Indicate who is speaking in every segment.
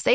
Speaker 1: Say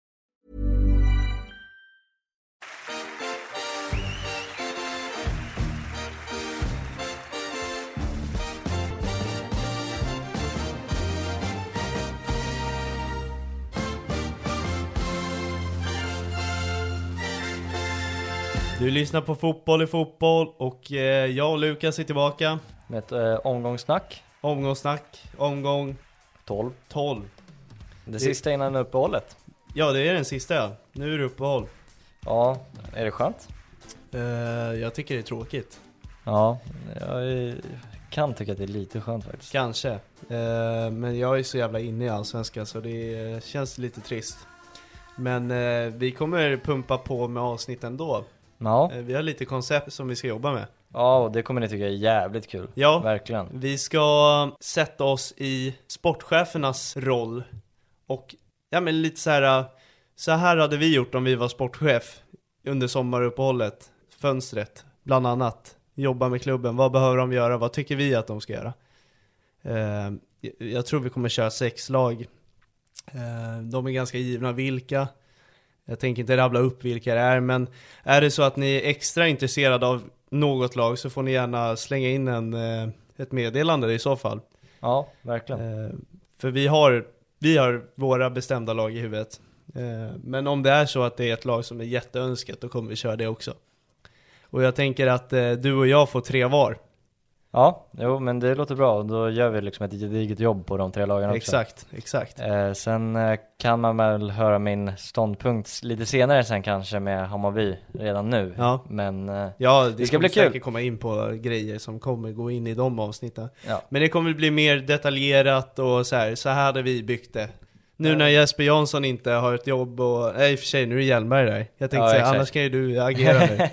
Speaker 2: Du lyssnar på Fotboll i fotboll och eh, jag och Lukas är tillbaka.
Speaker 3: Med ett eh, omgångssnack.
Speaker 2: Omgångssnack, omgång
Speaker 3: 12.
Speaker 2: 12.
Speaker 3: Det sista innan uppehållet.
Speaker 2: Ja, det är den sista ja. Nu är det uppehåll.
Speaker 3: Ja, är det skönt?
Speaker 2: Eh, jag tycker det är tråkigt.
Speaker 3: Ja, jag eh, kan tycka att det är lite skönt faktiskt.
Speaker 2: Kanske. Eh, men jag är så jävla inne i Allsvenskan så det eh, känns lite trist. Men eh, vi kommer pumpa på med avsnitt ändå.
Speaker 3: Ja,
Speaker 2: Eh, vi har lite koncept som vi ska jobba med.
Speaker 3: ja och det kommer ni tycka är jävligt kul.
Speaker 2: Ja.
Speaker 3: Verkligen.
Speaker 2: Vi ska sätta oss i sportchefernas roll och ja men lite så här så här hade vi gjort om vi var sportchef under sommaruppehållet, fönstret, bland annat. Jobba med klubben, vad behöver de göra, vad tycker vi att de ska göra? Eh, jag tror vi kommer köra sex lag. Eh, de är ganska givna vilka. Jag tänker inte rabbla upp vilka det är, men är det så att ni är extra intresserade av något lag så får ni gärna slänga in en, eh, ett meddelande i så fall.
Speaker 3: Ja, verkligen.
Speaker 2: Eh, För vi har, vi har våra bestämda lag i huvudet. Eh, Men om det är så att det är ett lag som är jätteönskat, då kommer vi köra det också. Och jag tänker att eh, du och jag får tre var.
Speaker 3: Ja, jo men det låter bra. Då gör vi liksom ett gediget jobb på de tre lagen också.
Speaker 2: Exakt, exakt.
Speaker 3: Eh, sen eh, kan man väl höra min ståndpunkt s- lite senare sen kanske med Hammarby redan nu.
Speaker 2: Ja.
Speaker 3: Men eh,
Speaker 2: Ja, det,
Speaker 3: Det ska
Speaker 2: kommer
Speaker 3: bli kul.
Speaker 2: säkert komma in på grejer som kommer gå in i de avsnitten.
Speaker 3: ja,
Speaker 2: Men det kommer bli mer detaljerat och så här, så här hade vi byggt det. Nu när Jesper Jansson inte har ett jobb och, nej i och för sig nu är Hjelmberg där. Jag tänkte
Speaker 3: Ja,
Speaker 2: säga,
Speaker 3: exakt.
Speaker 2: annars kan ju du agera nu.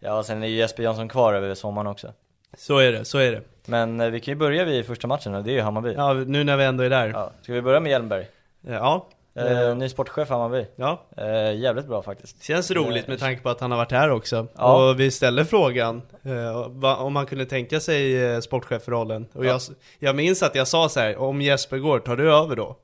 Speaker 3: ja sen är ju Jesper Jansson kvar över sommaren också.
Speaker 2: Så är det, så är det.
Speaker 3: Men eh, vi kan ju börja vid första matchen och det är ju Hammarby.
Speaker 2: Ja, nu när vi ändå är där. Ja.
Speaker 3: Ja. Ska vi börja med Hjelmberg?
Speaker 2: Ja,
Speaker 3: Eh, ny sportchef Hammarby.
Speaker 2: ja.
Speaker 3: Eh, jävligt bra faktiskt. Eh,
Speaker 2: känns roligt med tanke på att han har varit här också.
Speaker 3: Ja.
Speaker 2: Och vi ställer frågan eh, va- om han kunde tänka sig eh, sportchefrollen. Och jag, s- jag minns att jag sa så här, om Jesper går, tar du över då?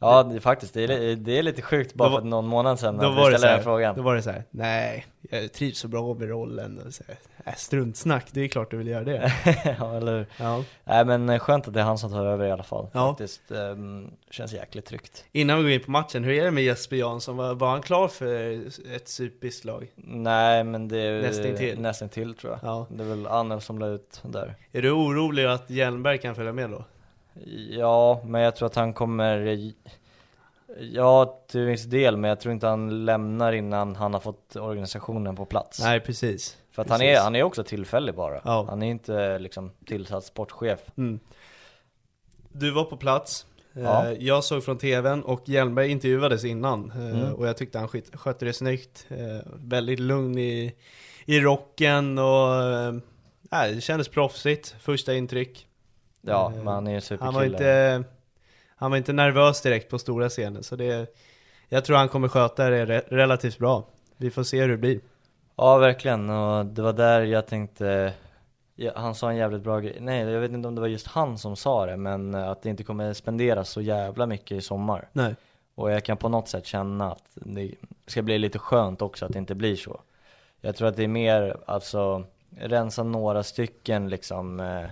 Speaker 3: Ja det, faktiskt, det är, li- det är lite sjukt bara
Speaker 2: Då var-
Speaker 3: för någon månad sedan
Speaker 2: Då
Speaker 3: när vi
Speaker 2: var,
Speaker 3: ställde
Speaker 2: det så
Speaker 3: den här
Speaker 2: här, då
Speaker 3: frågan.
Speaker 2: var det så här, nej, jag trivs så bra med rollen. Och så här, "Äh, struntsnack, det är klart du vill göra det.
Speaker 3: ja, eller hur?
Speaker 2: Ja.
Speaker 3: Nej men eh, skönt att det är han som tar över i alla fall.
Speaker 2: Ja.
Speaker 3: Faktiskt, ehm, känns jäkligt tryggt.
Speaker 2: Innan vi går in på matchen, hur är det med Jesper Jansson? Var, var han klar för ett superbiskt lag?
Speaker 3: Nej men det är
Speaker 2: Nästintill.
Speaker 3: nästintill, tror jag.
Speaker 2: Ja.
Speaker 3: Det är väl Annel som la ut där.
Speaker 2: Är du orolig att Hjelmberg kan följa med då?
Speaker 3: Ja, men jag tror att han kommer... Ja, till viss del, men jag tror inte han lämnar innan han har fått organisationen på plats.
Speaker 2: Nej, precis.
Speaker 3: För att han är,
Speaker 2: precis.
Speaker 3: han är också tillfällig bara.
Speaker 2: Ja.
Speaker 3: Han är inte liksom tillsatt sportchef.
Speaker 2: Mm. Du var på plats. Eh,
Speaker 3: Ja.
Speaker 2: Jag såg från tvn och Hjelmberg intervjuades innan eh,
Speaker 3: Mm.
Speaker 2: och jag tyckte han skit, skötte det snyggt. Eh, Väldigt lugn i, i rocken och eh, nej, det kändes proffsigt, första intryck.
Speaker 3: Ja,
Speaker 2: Eh,
Speaker 3: men han är ju superkille.
Speaker 2: Han var, inte, han var inte nervös direkt på stora scenen så det, jag tror han kommer sköta det re, relativt bra. Vi får se hur det blir.
Speaker 3: Ja, verkligen. Och det var där jag tänkte, ja, han sa en jävligt bra grej. Nej, jag vet inte om det var just han som sa det, men eh, att det inte kommer spenderas så jävla mycket i sommar.
Speaker 2: Nej.
Speaker 3: Och jag kan på något sätt känna att det ska bli lite skönt också att det inte blir så. Jag tror att det är mer, alltså, rensa några stycken liksom. Eh,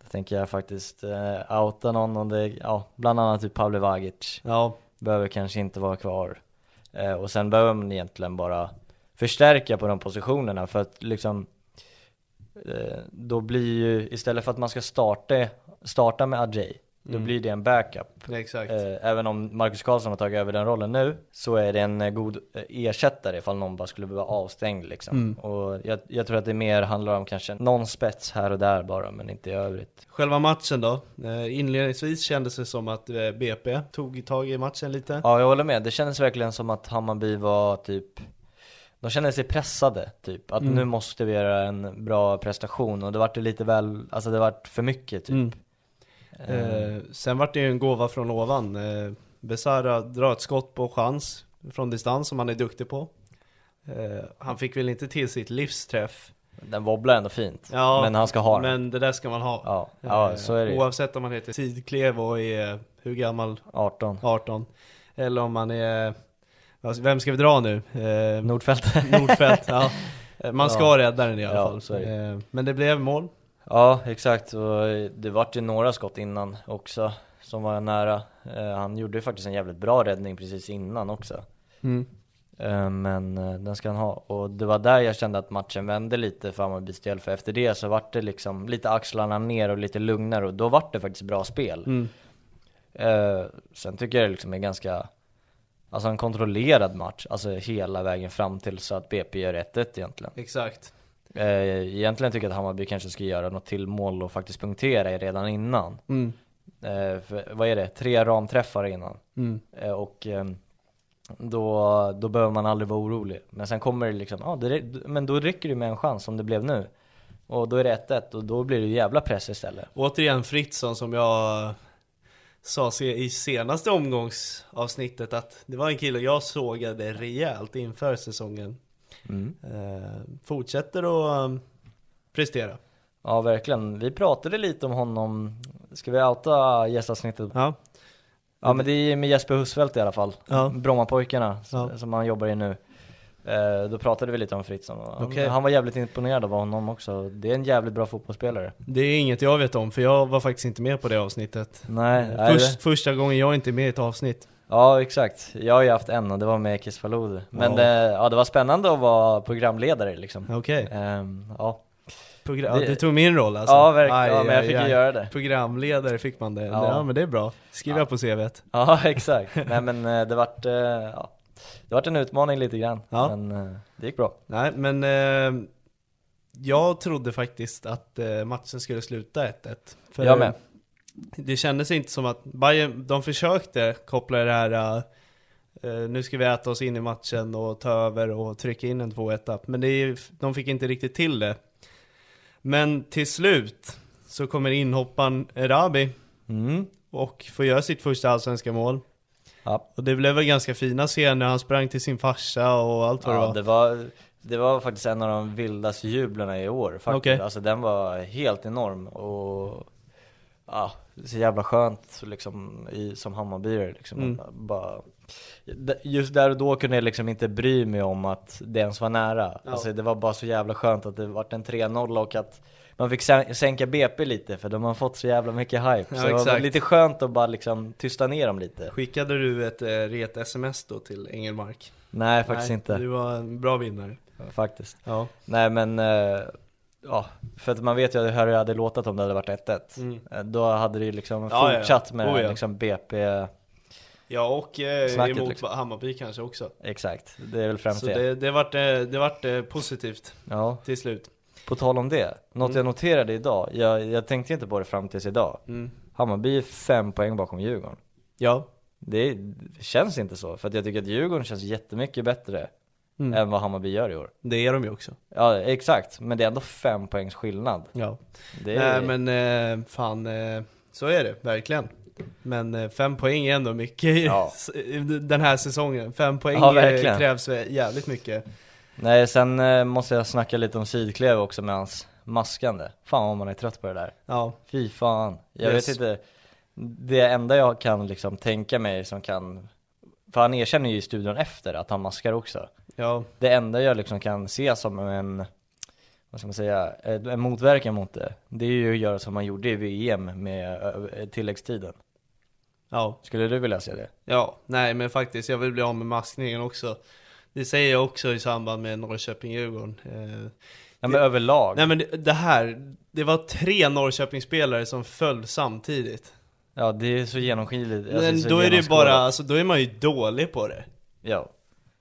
Speaker 3: då tänker jag faktiskt eh, outa någon och det, ja, bland annat typ Pavle Vagic
Speaker 2: Ja,
Speaker 3: behöver kanske inte vara kvar. Eh, och sen behöver man egentligen bara förstärka på de positionerna för att liksom eh, då blir ju, istället för att man ska starta, starta med Ajay, då blir det en backup.
Speaker 2: exakt.
Speaker 3: Eh, Även om Marcus Karlsson har tagit över den rollen nu så är det en eh, god eh, ersättare ifall någon bara skulle behöva avstängd liksom.
Speaker 2: Mm.
Speaker 3: Och jag, jag tror att det mer handlar om kanske någon spets här och där bara men inte i övrigt.
Speaker 2: Själva matchen då? Eh, Inledningsvis kändes det som att eh, BP tog tag i matchen lite.
Speaker 3: Ja jag håller med, det kändes verkligen som att Hammarby var typ de kände sig pressade typ,
Speaker 2: Mm.
Speaker 3: att nu måste vi göra en bra prestation och det vart ju lite väl, alltså det vart för mycket typ.
Speaker 2: Mm. Eh, sen vart det ju en gåva från ovan. Eh, Besara drar ett skott på chans från distans som han är duktig på. Eh, han fick väl inte till sitt livsträff.
Speaker 3: Den wobblar ändå fint,
Speaker 2: Ja,
Speaker 3: men han ska ha den.
Speaker 2: Men det där ska man ha. Eh,
Speaker 3: Ja, ja, så är det ju.
Speaker 2: Oavsett om man heter Sidklev och är, hur gammal?
Speaker 3: 18.
Speaker 2: 18. Eller om man är, alltså, vem ska vi dra nu? Eh,
Speaker 3: Nordfält.
Speaker 2: Nordfält, ja. Eh, Man ska
Speaker 3: Ja.
Speaker 2: rädda den i alla
Speaker 3: Ja,
Speaker 2: fall.
Speaker 3: så är
Speaker 2: Eh, Men det blev mål.
Speaker 3: Ja, exakt. Och eh, det vart ju några skott innan också som var nära. Eh, Han gjorde ju faktiskt en jävligt bra räddning precis innan också. Eh, Men eh, den ska han ha. Och det var där jag kände att matchen vände lite för Hammarbys del. För efter det så vart det liksom lite axlarna ner och lite lugnare och då vart det faktiskt bra spel. Eh, Sen tycker jag det liksom är ganska, alltså en kontrollerad match. Alltså hela vägen fram till så att BP gör 1-1 egentligen.
Speaker 2: Exakt.
Speaker 3: Eh, Egentligen tycker jag att Hammarby kanske ska göra något till mål och faktiskt punktera i redan innan. Eh, För, vad är det? Tre ramträffar innan. Eh, Och ehm, då, då behöver man aldrig vara orolig. Men sen kommer det liksom, ja, det, rä- men då räcker det med en chans som det blev nu. Och då är det 1-1 och då blir det ju jävla press istället.
Speaker 2: Återigen Fritzson som jag sa se- i senaste omgångsavsnittet att det var en kille jag sågade rejält inför säsongen.
Speaker 3: Mm.
Speaker 2: Eh, fortsätter att eh, prestera.
Speaker 3: Ja verkligen, vi pratade lite om honom. Ska vi outa gästavsnittet?
Speaker 2: Ja.
Speaker 3: Ja men det är med Jesper Husfeldt i alla fall,
Speaker 2: Ja.
Speaker 3: Brommapojkarna s-
Speaker 2: Ja.
Speaker 3: som han jobbar i nu. Eh, då pratade vi lite om Fritzson och han,
Speaker 2: Okej.
Speaker 3: han var jävligt imponerad av honom också. Det är en jävligt bra fotbollsspelare.
Speaker 2: Det är inget jag vet om för jag var faktiskt inte med på det avsnittet.
Speaker 3: Nej, är
Speaker 2: Först,
Speaker 3: det?
Speaker 2: första gången jag inte är med i ett avsnitt.
Speaker 3: Ja exakt, jag har ju haft en och det var med Kiss Faludi. Men
Speaker 2: Ja.
Speaker 3: Det, ja, det var spännande att vara programledare liksom.
Speaker 2: Okej.
Speaker 3: Ehm, ja.
Speaker 2: Progra- ja,
Speaker 3: Det-
Speaker 2: du tog min roll alltså?
Speaker 3: Ja, verkligen. Ja, men jag fick ju göra det.
Speaker 2: Programledare fick man det. Ja,
Speaker 3: Ja.
Speaker 2: men det är bra. Skriver jag på CVt.
Speaker 3: ja exakt, nej men eh, det vart, eh, ja. det vart en utmaning lite grann.
Speaker 2: Ja.
Speaker 3: Men eh, det gick bra.
Speaker 2: Nej, men eh, jag trodde faktiskt att eh, matchen skulle sluta 1-1. För
Speaker 3: Jag med.
Speaker 2: Det kändes inte som att Bayern, de försökte koppla det här eh, nu ska vi äta oss in i matchen och ta över och trycka in en 2-1 upp. Men det är, de fick inte riktigt till det. Men till slut så kommer inhopparen Erabi
Speaker 3: Mm.
Speaker 2: och får göra sitt första allsvenska mål.
Speaker 3: Ja.
Speaker 2: Och det blev väl ganska fina scener, han sprang till sin farsa och allt vad
Speaker 3: Ja,
Speaker 2: det var.
Speaker 3: det var, det var faktiskt en av de vildaste jublarna i år faktiskt.
Speaker 2: Okej.
Speaker 3: Alltså den var helt enorm och ja, så jävla skönt liksom i, som Hammarbyare liksom.
Speaker 2: Mm.
Speaker 3: Bara, d- just där och då kunde jag liksom inte bry mig om att det ens var nära. Alltså det var bara så jävla skönt att det vart en 3-0 och att man fick sän- sänka BP lite för de har fått så jävla mycket hype.
Speaker 2: Ja,
Speaker 3: så det var
Speaker 2: exakt.
Speaker 3: lite skönt att bara liksom tysta ner dem lite.
Speaker 2: Skickade du ett eh, ret sms då till Engelmark?
Speaker 3: Nej faktiskt
Speaker 2: Nej,
Speaker 3: inte.
Speaker 2: Du var en bra vinnare.
Speaker 3: Faktiskt.
Speaker 2: Ja.
Speaker 3: Nej men, eh, ja, för att man vet ju hur det hade låtat om det hade varit 1-1 Eh, Då hade det ju liksom
Speaker 2: Mm. Ja, ja.
Speaker 3: fortsatt med
Speaker 2: Oh, ja.
Speaker 3: liksom BP,
Speaker 2: Ja och eh,
Speaker 3: Snacket
Speaker 2: emot
Speaker 3: liksom.
Speaker 2: Hammarby kanske också.
Speaker 3: exakt, det är väl främst
Speaker 2: Så
Speaker 3: det,
Speaker 2: det, det vart, eh, det vart eh, positivt
Speaker 3: Ja,
Speaker 2: till slut.
Speaker 3: på tal om det, något
Speaker 2: Mm.
Speaker 3: jag noterade idag, jag, jag tänkte inte på det fram tills idag
Speaker 2: Mm.
Speaker 3: Hammarby är fem poäng bakom Djurgården
Speaker 2: Ja.
Speaker 3: Det känns inte så, för att jag tycker att Djurgården känns jättemycket bättre
Speaker 2: Mm.
Speaker 3: än vad Hammarby gör i år
Speaker 2: Det är de ju också.
Speaker 3: Ja exakt, men det är ändå fem poängs skillnad
Speaker 2: Ja.
Speaker 3: det är,
Speaker 2: Nej men eh, fan, eh, så är det verkligen. Men eh, fem poäng är ändå mycket i
Speaker 3: Ja.
Speaker 2: s- i den här säsongen. Fem poäng
Speaker 3: Ja,
Speaker 2: eh,
Speaker 3: verkligen.
Speaker 2: krävs eh, jävligt mycket.
Speaker 3: Nej, sen eh, måste jag snacka lite om Sidklev också med hans maskande. Fan vad man är trött på det där.
Speaker 2: Ja,
Speaker 3: Fy fan. Jag
Speaker 2: Yes.
Speaker 3: vet inte. Det enda jag kan liksom tänka mig som kan... För han erkänner ju i studion efter att han maskar också.
Speaker 2: ja,
Speaker 3: Det enda jag liksom kan se som en... Vad ska man säga? eh, En motverkan mot det. Det är ju att göra som man gjorde i VM med eh, tilläggstiden.
Speaker 2: ja,
Speaker 3: Skulle du vilja se det?
Speaker 2: ja, nej men faktiskt, jag vill bli av med maskningen också. Det säger jag också i samband med Norrköping-Djurgården. Eh,
Speaker 3: Ja, men överlag.
Speaker 2: nej men det, det här, det var tre Norrköpingsspelare som föll samtidigt.
Speaker 3: Ja, det är så genomskinligt. Alltså,
Speaker 2: Men
Speaker 3: så
Speaker 2: då är det ju
Speaker 3: genomskådat.
Speaker 2: bara, alltså då är man ju dålig på det.
Speaker 3: Ja.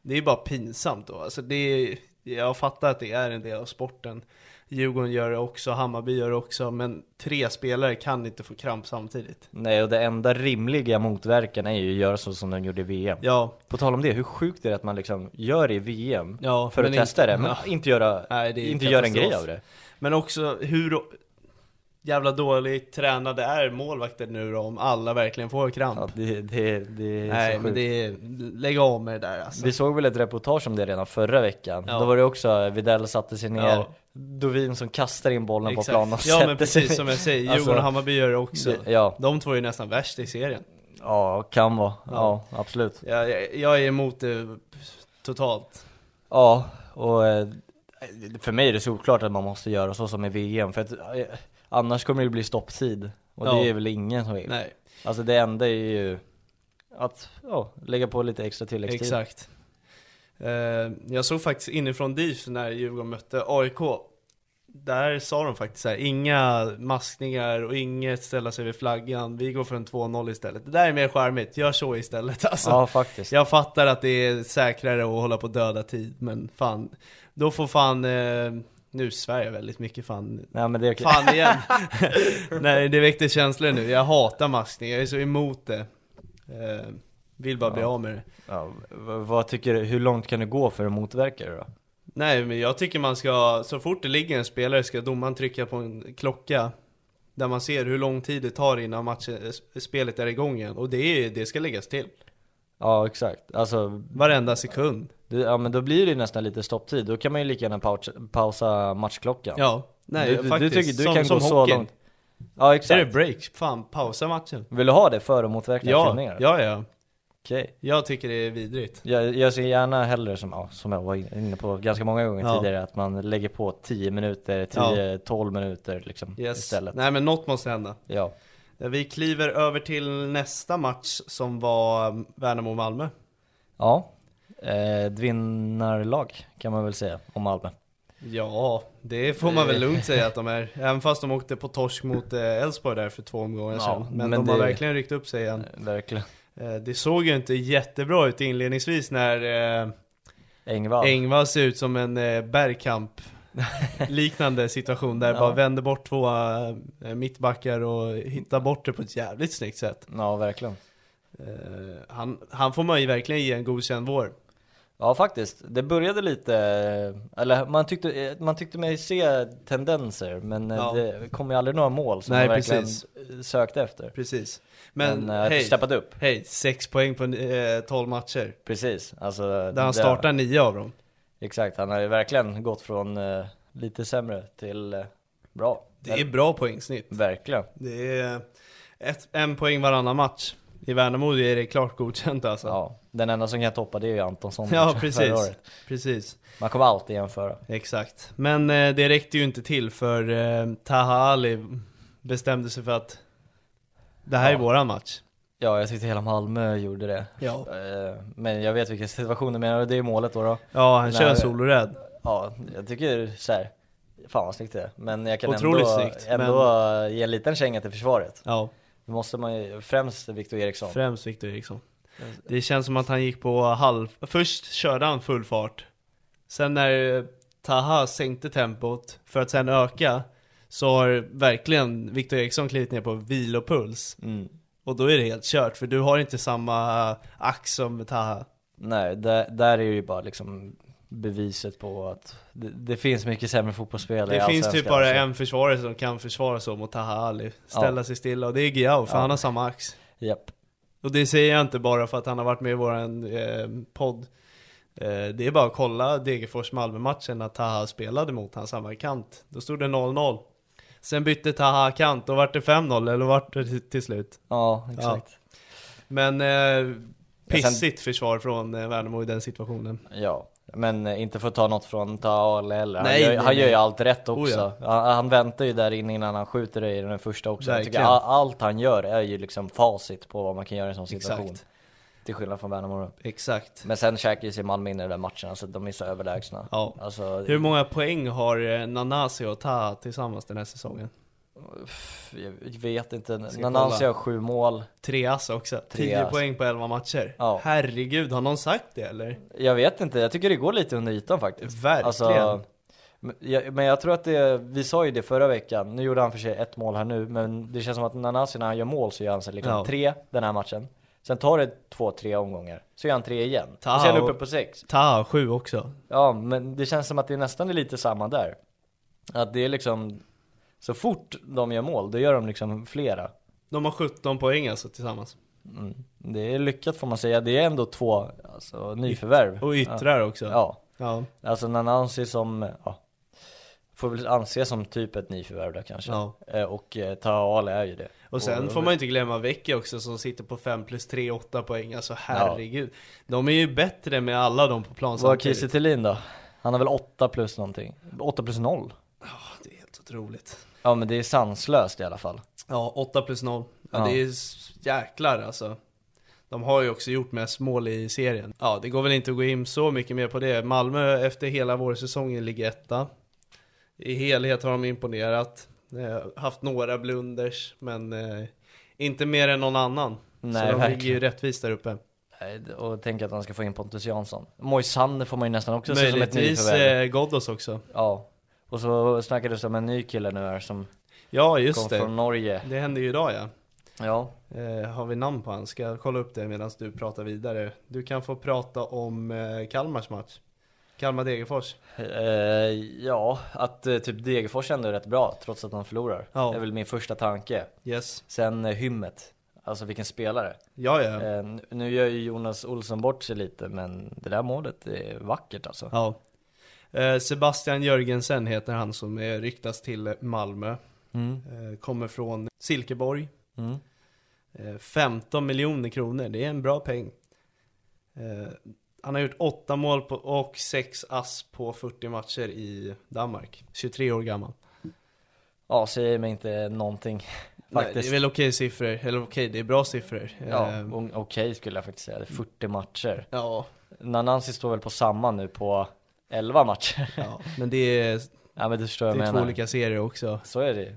Speaker 2: Det är ju bara pinsamt då. Alltså det är, jag fattar att det är en del av sporten. Djurgården gör det också, Hammarby gör det också, men tre spelare kan inte få kramp samtidigt.
Speaker 3: Nej, och det enda rimliga motverkan är ju att göra så som de gjorde i VM.
Speaker 2: Ja,
Speaker 3: På tal om det, hur sjukt det är att man liksom gör det i VM
Speaker 2: Ja,
Speaker 3: för att
Speaker 2: men
Speaker 3: testa
Speaker 2: inte-
Speaker 3: det, men
Speaker 2: ja.
Speaker 3: inte göra,
Speaker 2: Nej, det är
Speaker 3: inte göra en
Speaker 2: katastrof.
Speaker 3: grej av det.
Speaker 2: men också hur jävla dåligt tränade är målvakter nu då, om alla verkligen får kramp?
Speaker 3: Ja, det, det, det är
Speaker 2: Nej,
Speaker 3: så
Speaker 2: men
Speaker 3: sjukt.
Speaker 2: det är, lägg av med det där alltså.
Speaker 3: Vi såg väl ett reportage om det redan förra veckan.
Speaker 2: Ja.
Speaker 3: Då var det också, eh, Videll satte sig ner,
Speaker 2: Ja.
Speaker 3: Dovin som kastar in bollen på planen och
Speaker 2: Ja men
Speaker 3: sätter sig Alltså,
Speaker 2: precis som jag säger, Djurgården och Hammarby gör det också.
Speaker 3: det- ja.
Speaker 2: De två är ju nästan värst i serien.
Speaker 3: Ja, kan vara. Ja, absolut.
Speaker 2: Jag, jag, jag är emot det totalt.
Speaker 3: Ja, och eh, för mig är det solklart att man måste göra så som i VM, för att eh, annars kommer det ju bli stopptid. Och
Speaker 2: Ja.
Speaker 3: det är väl ingen som vill.
Speaker 2: Nej,
Speaker 3: Alltså det enda är ju att ja, lägga på lite extra tilläggstid.
Speaker 2: exakt. Eh, jag såg faktiskt inifrån DIF när Djurgården mötte AIK. Där sa de faktiskt så här, inga maskningar och inget ställa sig vid flaggan. Vi går för en 2-0 istället. Det där är mer charmigt, gör så istället alltså.
Speaker 3: Ja faktiskt.
Speaker 2: Jag fattar att det är säkrare att hålla på och döda tid, men fan. Då får fan, eh, nu svär jag väldigt mycket fan.
Speaker 3: Nej men det är okej.
Speaker 2: Fan igen! Nej, det väckte känslor nu. Jag hatar maskning, jag är så emot det. Eh, vill bara bli av med det.
Speaker 3: Ja, v- vad tycker du, hur långt kan du gå för att motverka det då?
Speaker 2: Nej, men jag tycker man ska, så fort det ligger en spelare ska domaren trycka på en klocka där man ser hur lång tid det tar innan matchen, eh, spelet är igång igen. Och det, är- det ska läggas till.
Speaker 3: Ja exakt, alltså
Speaker 2: Varenda sekund.
Speaker 3: det, ja, men då blir det ju nästan lite stopptid, då kan man ju lika gärna pausa, pausa matchklockan.
Speaker 2: Ja, nej
Speaker 3: du, du, du
Speaker 2: faktiskt.
Speaker 3: tycker du
Speaker 2: som,
Speaker 3: kan
Speaker 2: som
Speaker 3: gå så
Speaker 2: hockeyn.
Speaker 3: långt? Ja
Speaker 2: Är
Speaker 3: exakt.
Speaker 2: det break? Fan, pausa matchen.
Speaker 3: Vill du ha det för att motverka
Speaker 2: Ja,
Speaker 3: filmningar?
Speaker 2: ja, ja.
Speaker 3: Okej.
Speaker 2: Jag tycker det är vidrigt.
Speaker 3: Jag, jag ser gärna hellre som, ja, som jag var inne på ganska många gånger
Speaker 2: Ja.
Speaker 3: tidigare, att man lägger på 10 minuter, 10-12 minuter liksom
Speaker 2: Yes.
Speaker 3: istället.
Speaker 2: Nej men något måste hända.
Speaker 3: Ja.
Speaker 2: Vi kliver över till nästa match som var um, Värnamo-Malmö.
Speaker 3: Ja, eh, ett vinnarlag kan man väl säga om Malmö.
Speaker 2: Ja, det får man väl lugnt säga att de är. Även fast de åkte på torsk mot eh, Elfsborg där för två omgångar
Speaker 3: Ja,
Speaker 2: sedan. Men,
Speaker 3: men
Speaker 2: de har
Speaker 3: det-
Speaker 2: verkligen ryckt upp sig igen.
Speaker 3: Verkligen.
Speaker 2: Eh, Det såg ju inte jättebra ut inledningsvis när eh,
Speaker 3: Engvall.
Speaker 2: Engvall ser ut som en eh, bergkamp liknande situation där
Speaker 3: Ja.
Speaker 2: bara vänder bort två eh, mittbackar och hittar bort det på ett jävligt snyggt sätt.
Speaker 3: ja, verkligen.
Speaker 2: Eh, han, han får man ju verkligen ge en godkänd vår.
Speaker 3: Ja, faktiskt. Det började lite, eh, eller man tyckte, eh, man tyckte mig se tendenser, men eh,
Speaker 2: Ja.
Speaker 3: det kom ju aldrig några mål som
Speaker 2: Nej,
Speaker 3: man verkligen
Speaker 2: precis.
Speaker 3: eh, sökte efter.
Speaker 2: Precis. Men,
Speaker 3: Men, eh,
Speaker 2: hej,
Speaker 3: steppat upp.
Speaker 2: hej, sex poäng på eh, 12 matcher.
Speaker 3: Precis. Alltså,
Speaker 2: Där han startar nio av dem.
Speaker 3: Exakt, han har ju verkligen gått från eh, lite sämre till eh, bra.
Speaker 2: Det är bra poängsnitt.
Speaker 3: Verkligen.
Speaker 2: Det är ett, en poäng varannan match. I Värnamo är det klart godkänt alltså.
Speaker 3: Ja, den enda som kan toppa det är ju Antonsson.
Speaker 2: Ja,
Speaker 3: förra
Speaker 2: precis.
Speaker 3: året.
Speaker 2: precis.
Speaker 3: Man kommer alltid jämföra.
Speaker 2: Exakt. Men eh, det räckte ju inte till för eh, Taha Ali bestämde sig för att det här är
Speaker 3: Ja.
Speaker 2: våran match.
Speaker 3: Ja, jag tyckte hela Malmö gjorde det.
Speaker 2: Ja,
Speaker 3: Eh, Men jag vet vilken situation du menar och det är målet då. då.
Speaker 2: ja han kör
Speaker 3: Nej.
Speaker 2: solorädd.
Speaker 3: Ja, jag tycker så här. fan vad snyggt det är. Men jag kan
Speaker 2: Otroligt
Speaker 3: ändå,
Speaker 2: snyggt,
Speaker 3: ändå ge en liten känga till försvaret.
Speaker 2: Ja,
Speaker 3: Då måste man ju, främst Viktor Eriksson.
Speaker 2: främst Victor Eriksson. Det känns som att han gick på halv... Först körde han full fart. Sen när eh, Taha sänkte tempot för att sen öka så har verkligen Victor Eriksson klivit ner på vilopuls.
Speaker 3: Mm.
Speaker 2: Och då är det helt kört för du har inte samma ax som Taha.
Speaker 3: Nej, där, där är ju bara liksom beviset på att det, det finns mycket sämre fotbollsspelare i
Speaker 2: Det finns typ
Speaker 3: Allsvenskan,
Speaker 2: bara
Speaker 3: alltså.
Speaker 2: en försvarare som kan försvara så mot Taha Ali. Ställa
Speaker 3: Ja.
Speaker 2: sig stilla och det är Giao för
Speaker 3: Ja.
Speaker 2: han har samma ax.
Speaker 3: Japp.
Speaker 2: Och det säger jag inte bara för att han har varit med i våran eh, podd. Eh, Det är bara att kolla Degerfors-Malmö-matchen när Taha spelade mot hans samma kant. Då stod det 0-0. Sen bytte Taha kant, då vart det 5-0, eller vart det till- till slut?
Speaker 3: Ja, exakt.
Speaker 2: Men eh,
Speaker 3: Ja, sen-
Speaker 2: pissigt försvar från eh, Värnamo i den situationen.
Speaker 3: Ja. Men eh, inte för att ta något från Taal heller. Han,
Speaker 2: Nej,
Speaker 3: gör,
Speaker 2: nej,
Speaker 3: han gör
Speaker 2: nej.
Speaker 3: ju allt rätt
Speaker 2: Oh,
Speaker 3: också. han, han väntar ju där inne innan han skjuter i den första också. Jag tycker
Speaker 2: Verkligen.
Speaker 3: all, allt han gör är ju liksom facit på vad man kan göra i en sån situation.
Speaker 2: Exakt.
Speaker 3: Till skillnad från Värnamo då.
Speaker 2: Exakt.
Speaker 3: Men sen käkar ju sig Malmö in i den där matchen, alltså de är så överlägsna.
Speaker 2: Ja.
Speaker 3: Alltså,
Speaker 2: Hur många poäng har eh, Nanasi och Taha tillsammans den här säsongen?
Speaker 3: jag vet inte.
Speaker 2: Ska
Speaker 3: Nanasi
Speaker 2: kolla.
Speaker 3: har sju mål.
Speaker 2: Tre ass också.
Speaker 3: Tre
Speaker 2: 10
Speaker 3: ass.
Speaker 2: poäng på 11 matcher.
Speaker 3: Ja.
Speaker 2: Herregud, har någon sagt det eller?
Speaker 3: Jag vet inte, jag tycker det går lite under ytan faktiskt. Alltså,
Speaker 2: Verkligen.
Speaker 3: men jag, men jag tror att det, vi sa ju det förra veckan, nu gjorde han för sig ett mål här nu, men det känns som att Nanasi när han gör mål så gör han sig liksom
Speaker 2: Ja.
Speaker 3: tre den här matchen. Sen tar det två, tre omgångar, så gör han tre igen. Och så
Speaker 2: Tao.
Speaker 3: är han uppe på sex.
Speaker 2: Taha har sju också.
Speaker 3: Ja, men det känns som att det nästan är lite samma där. Att det är liksom, så fort de gör mål, då gör de liksom flera.
Speaker 2: De har 17 poäng alltså tillsammans.
Speaker 3: Det är lyckat får man säga, det är ändå två alltså, nyförvärv.
Speaker 2: Och yttrar också.
Speaker 3: Ja. ja.
Speaker 2: Ja.
Speaker 3: Alltså Nanansi som, ja, får väl anses som typ ett nyförvärv där kanske.
Speaker 2: Ja.
Speaker 3: Eh, Och eh, Taale är ju det.
Speaker 2: Och sen får man ju inte glömma Vecchio också som sitter på 5 plus 3, 8 poäng. Alltså herregud. De är ju bättre med alla de på plan
Speaker 3: Vad har
Speaker 2: samtidigt.
Speaker 3: Kiese Thelin då? Han har väl 8 plus någonting? 8 plus 0?
Speaker 2: Det är helt otroligt.
Speaker 3: Ja men det är sanslöst i alla fall.
Speaker 2: Ja, 8 plus 0. Ja,
Speaker 3: Ja.
Speaker 2: det är s- jäklar alltså. De har ju också gjort mest mål i serien. Ja, det går väl inte att gå in så mycket mer på det. Malmö efter hela vårsäsongen ligger etta. I helhet har de imponerat. Eh, haft några blunders, men eh, inte mer än någon annan.
Speaker 3: Nej,
Speaker 2: så de ligger ju
Speaker 3: verkligen.
Speaker 2: rättvist där uppe.
Speaker 3: Nej, d- Eh, Och tänk att han ska få in Pontus Jansson. Moisander får man ju nästan också se som ett
Speaker 2: Möjligtvis
Speaker 3: nyförvärv.
Speaker 2: eh, Ghoddos också.
Speaker 3: Ja. Och så snackades det om en ny kille nu här som
Speaker 2: Ja,
Speaker 3: kom
Speaker 2: just det.
Speaker 3: från Norge.
Speaker 2: Det hände ju idag ja.
Speaker 3: Ja.
Speaker 2: Eh, har vi namn på han? Ska jag kolla upp det medan du pratar vidare? Du kan få prata om eh, Kalmars match. Kalmar-Degerfors.
Speaker 3: Eh, ja, att eh, typ Degerfors ändå är rätt bra trots att de förlorar.
Speaker 2: Ja.
Speaker 3: Det är väl min första tanke.
Speaker 2: Yes.
Speaker 3: Sen eh, Hymmet, alltså vilken spelare.
Speaker 2: Ja, ja.
Speaker 3: Eh, nu- nu gör ju Jonas Olsson bort sig lite, men det där målet är vackert alltså.
Speaker 2: ja. Eh, Sebastian Jörgensen heter han som eh, ryktas till Malmö.
Speaker 3: Mm.
Speaker 2: Eh, kommer från Silkeborg.
Speaker 3: Mm.
Speaker 2: Eh, 15 miljoner kronor, det är en bra peng. Eh, han har gjort 8 mål på, och 6 ass på 40 matcher i Danmark. 23 år gammal.
Speaker 3: Ja, säger mig inte någonting
Speaker 2: Nej, det är
Speaker 3: faktiskt.
Speaker 2: väl okej siffror, eller okej, det är bra siffror.
Speaker 3: Ja,
Speaker 2: Ehm,
Speaker 3: o- okej skulle jag faktiskt säga. Det är 40 matcher.
Speaker 2: ja,
Speaker 3: Nanansi står väl på samma nu på 11 matcher.
Speaker 2: ja. men det är,
Speaker 3: ja, men du förstår
Speaker 2: det
Speaker 3: vad jag
Speaker 2: är två
Speaker 3: menar.
Speaker 2: olika serier också.
Speaker 3: Så är det ju.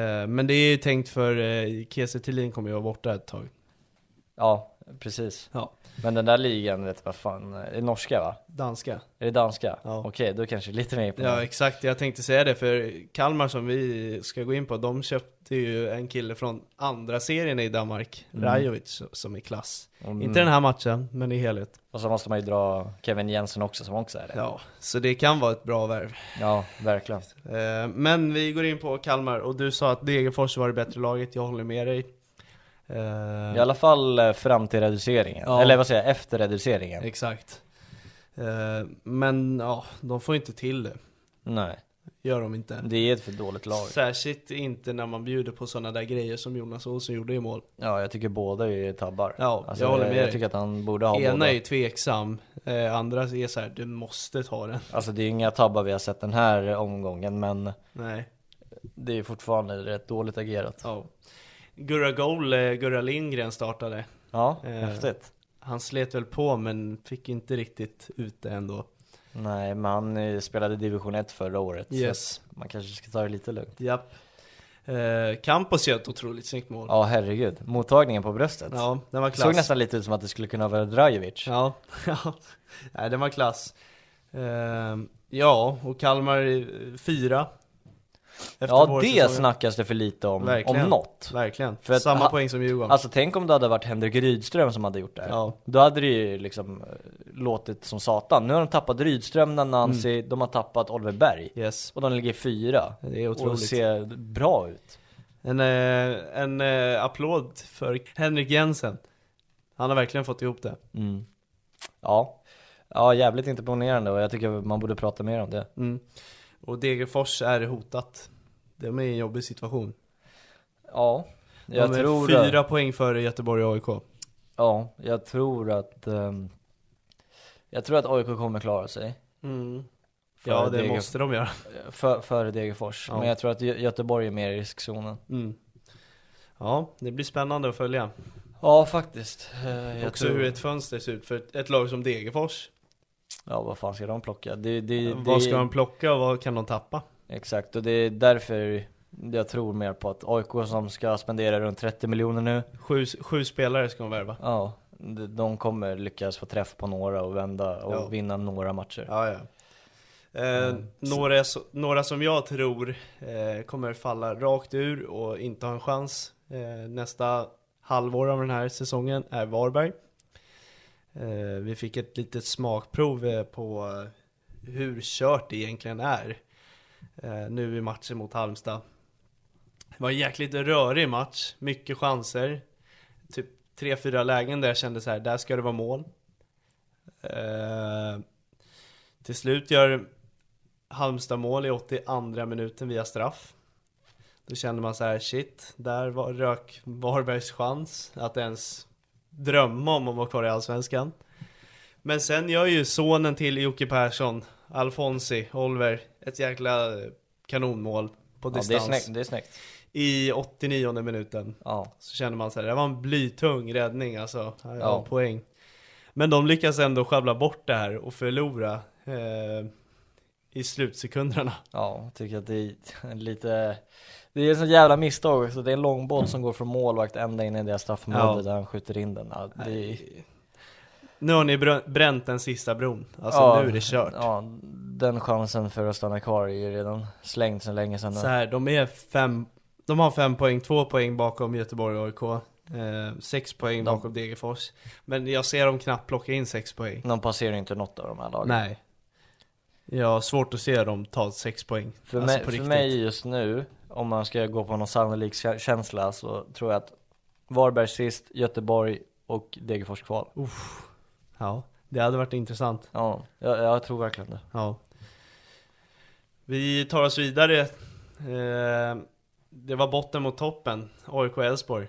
Speaker 2: Eh, men det är ju tänkt för eh, Kiese Thelin kommer ju vara borta ett tag.
Speaker 3: Ja, precis.
Speaker 2: Ja.
Speaker 3: Men den där ligan, vet du vad fan, eh, är norska va?
Speaker 2: Danska.
Speaker 3: Är det danska?
Speaker 2: Ja.
Speaker 3: Okej, då kanske det är lite mer
Speaker 2: Ja,
Speaker 3: imponerande.
Speaker 2: exakt. Jag tänkte säga det, för Kalmar som vi ska gå in på, de köpte ju en kille från andra serien i Danmark, Rajovic, som är klass.
Speaker 3: Mm.
Speaker 2: Inte den här matchen, men i helhet.
Speaker 3: Och så måste man ju dra Kevin Jensen också som också är det.
Speaker 2: Ja, så det kan vara ett bra värv.
Speaker 3: ja verkligen.
Speaker 2: Eh, Men vi går in på Kalmar och du sa att Degerfors var det bättre laget, jag håller med dig. Eh,
Speaker 3: I alla fall eh, fram till reduceringen,
Speaker 2: Ja.
Speaker 3: eller vad säger jag, efter reduceringen.
Speaker 2: Exakt. Eh, Men ja, de får inte till det.
Speaker 3: Nej,
Speaker 2: Gör de inte.
Speaker 3: det är ett för dåligt lag.
Speaker 2: Särskilt inte när man bjuder på sådana där grejer som Jonas Olsson gjorde i mål.
Speaker 3: Ja, jag tycker båda är tabbar. Alltså,
Speaker 2: Ja, jag håller med
Speaker 3: Jag
Speaker 2: dig.
Speaker 3: tycker att han borde ha
Speaker 2: Ena
Speaker 3: båda.
Speaker 2: är ju tveksam, eh, andra är så här, du måste ta den.
Speaker 3: Alltså det är inga tabbar vi har sett den här omgången, men
Speaker 2: Nej.
Speaker 3: det är fortfarande rätt dåligt agerat.
Speaker 2: Ja. Gurra Goal, eh, Gurra Lindgren startade.
Speaker 3: Ja,
Speaker 2: Eh.
Speaker 3: häftigt.
Speaker 2: Han slet väl på men fick inte riktigt ut det ändå.
Speaker 3: Nej, men han eh, spelade division 1 förra året. så
Speaker 2: Yes.
Speaker 3: att man kanske ska ta det lite lugnt.
Speaker 2: Japp. Eh, Campos gör ett otroligt snyggt mål. Ja,
Speaker 3: Ja, herregud. Mottagningen på bröstet.
Speaker 2: den var
Speaker 3: Det såg
Speaker 2: klass.
Speaker 3: nästan lite ut som att det skulle kunna vara Drajovic.
Speaker 2: Ja, ja. Nej, den var klass. Eh, ja, och Kalmar eh, fyra. Efter
Speaker 3: Ja, det
Speaker 2: vårsäsongen.
Speaker 3: snackas det för lite om,
Speaker 2: Verkligen.
Speaker 3: om något.
Speaker 2: Verkligen.
Speaker 3: För att
Speaker 2: Samma
Speaker 3: ha-
Speaker 2: poäng som Djurgården.
Speaker 3: Alltså tänk om det hade varit Henrik Rydström som hade gjort det här.
Speaker 2: Ja.
Speaker 3: Då hade det ju liksom eh, låtit som satan. Nu har de tappat Rydström, Nanansi, de har tappat Oliver Berg.
Speaker 2: yes.
Speaker 3: Och de ligger fyra.
Speaker 2: Mm. Det är
Speaker 3: Och
Speaker 2: otroligt.
Speaker 3: ser bra ut.
Speaker 2: En, eh, en eh, applåd för Henrik Jensen. Han har verkligen fått ihop det.
Speaker 3: Mm. Ja. Ja, jävligt imponerande och jag tycker man borde prata mer om det.
Speaker 2: Mm. Och Degerfors är hotat. De är i en jobbig situation.
Speaker 3: Ja,
Speaker 2: De
Speaker 3: jag
Speaker 2: är
Speaker 3: tror
Speaker 2: fyra poäng före Göteborg och AIK.
Speaker 3: Ja, jag tror att ehm, Jag tror att AIK kommer klara sig
Speaker 2: Mm. Ja,
Speaker 3: Före
Speaker 2: det
Speaker 3: Degerf-
Speaker 2: måste de göra.
Speaker 3: för, Före Degerfors,
Speaker 2: Ja.
Speaker 3: men jag tror att Gö- Göteborg är mer i riskzonen
Speaker 2: Mm. Ja, det blir spännande att följa.
Speaker 3: Ja faktiskt Eh, jag
Speaker 2: Också
Speaker 3: tror,
Speaker 2: hur ett fönster ser ut för ett- ett lag som Degerfors.
Speaker 3: Ja vad fan ska de plocka? Det, det, det,
Speaker 2: Vad ska de plocka och vad kan de tappa?
Speaker 3: Exakt, och det är därför jag tror mer på att AIK som ska spendera runt 30 miljoner nu
Speaker 2: Sju, sju spelare ska de värva.
Speaker 3: Ja, de- de kommer lyckas få träff på några och vända och
Speaker 2: Ja.
Speaker 3: vinna några matcher
Speaker 2: Ja, ja. Eh, några, so- några som jag tror eh, kommer falla rakt ur och inte ha en chans eh, nästa halvår av den här säsongen är Varberg. Eh, vi fick ett litet smakprov eh, på eh, hur kört det egentligen är eh, nu i matchen mot Halmstad. Det var en jäkligt rörig match, mycket chanser. Typ tre, fyra lägen där jag kände så här, där ska det vara mål. Eh, till slut gör Halmstad mål i 82 minuten via straff. Då känner man så här, shit, där var rök Varbergs chans att ens drömma om att vara kvar i Allsvenskan. Men sen gör ju sonen till Jocke Persson, Alfonsi, Oliver, ett jäkla kanonmål på
Speaker 3: Ja, det är
Speaker 2: distans
Speaker 3: snyggt, det är snyggt.
Speaker 2: i 89 minuten.
Speaker 3: Ja.
Speaker 2: Så känner man så här, det var en blytung räddning alltså. Ja,
Speaker 3: Ja.
Speaker 2: Poäng. Men de lyckas ändå sjabbla bort det här och förlora eh, i slutsekunderna.
Speaker 3: Ja, tycker att det är lite... Det är en sån jävla misstag också. Det är en långboll som går från målvakt ända in i deras straffområde
Speaker 2: Ja.
Speaker 3: där han skjuter in den. Ja, det,
Speaker 2: Nu har ni brö- bränt den sista bron. Alltså
Speaker 3: ja,
Speaker 2: nu är det kört.
Speaker 3: Ja, den chansen för att stanna kvar är ju redan slängd sedan länge sedan. nu.
Speaker 2: Så här, de är fem, de har fem poäng, två poäng bakom Göteborg och AIK. Eh, sex poäng
Speaker 3: De-
Speaker 2: bakom Degerfors. Men jag ser dem knappt plocka in sex poäng.
Speaker 3: De passerar ju inte något av de här lagen.
Speaker 2: Nej. Jag har svårt att se dem ta sex poäng.
Speaker 3: För,
Speaker 2: alltså
Speaker 3: mig,
Speaker 2: på
Speaker 3: för
Speaker 2: riktigt.
Speaker 3: mig just nu, om man ska gå på någon sannolik kä- känsla, så tror jag att Varberg sist, Göteborg och Degerfors kval.
Speaker 2: Oh. Ja, det hade varit intressant.
Speaker 3: Ja, jag, jag tror verkligen det.
Speaker 2: Ja. Vi tar oss vidare. Eh, det var botten mot toppen, AIK och Elfsborg.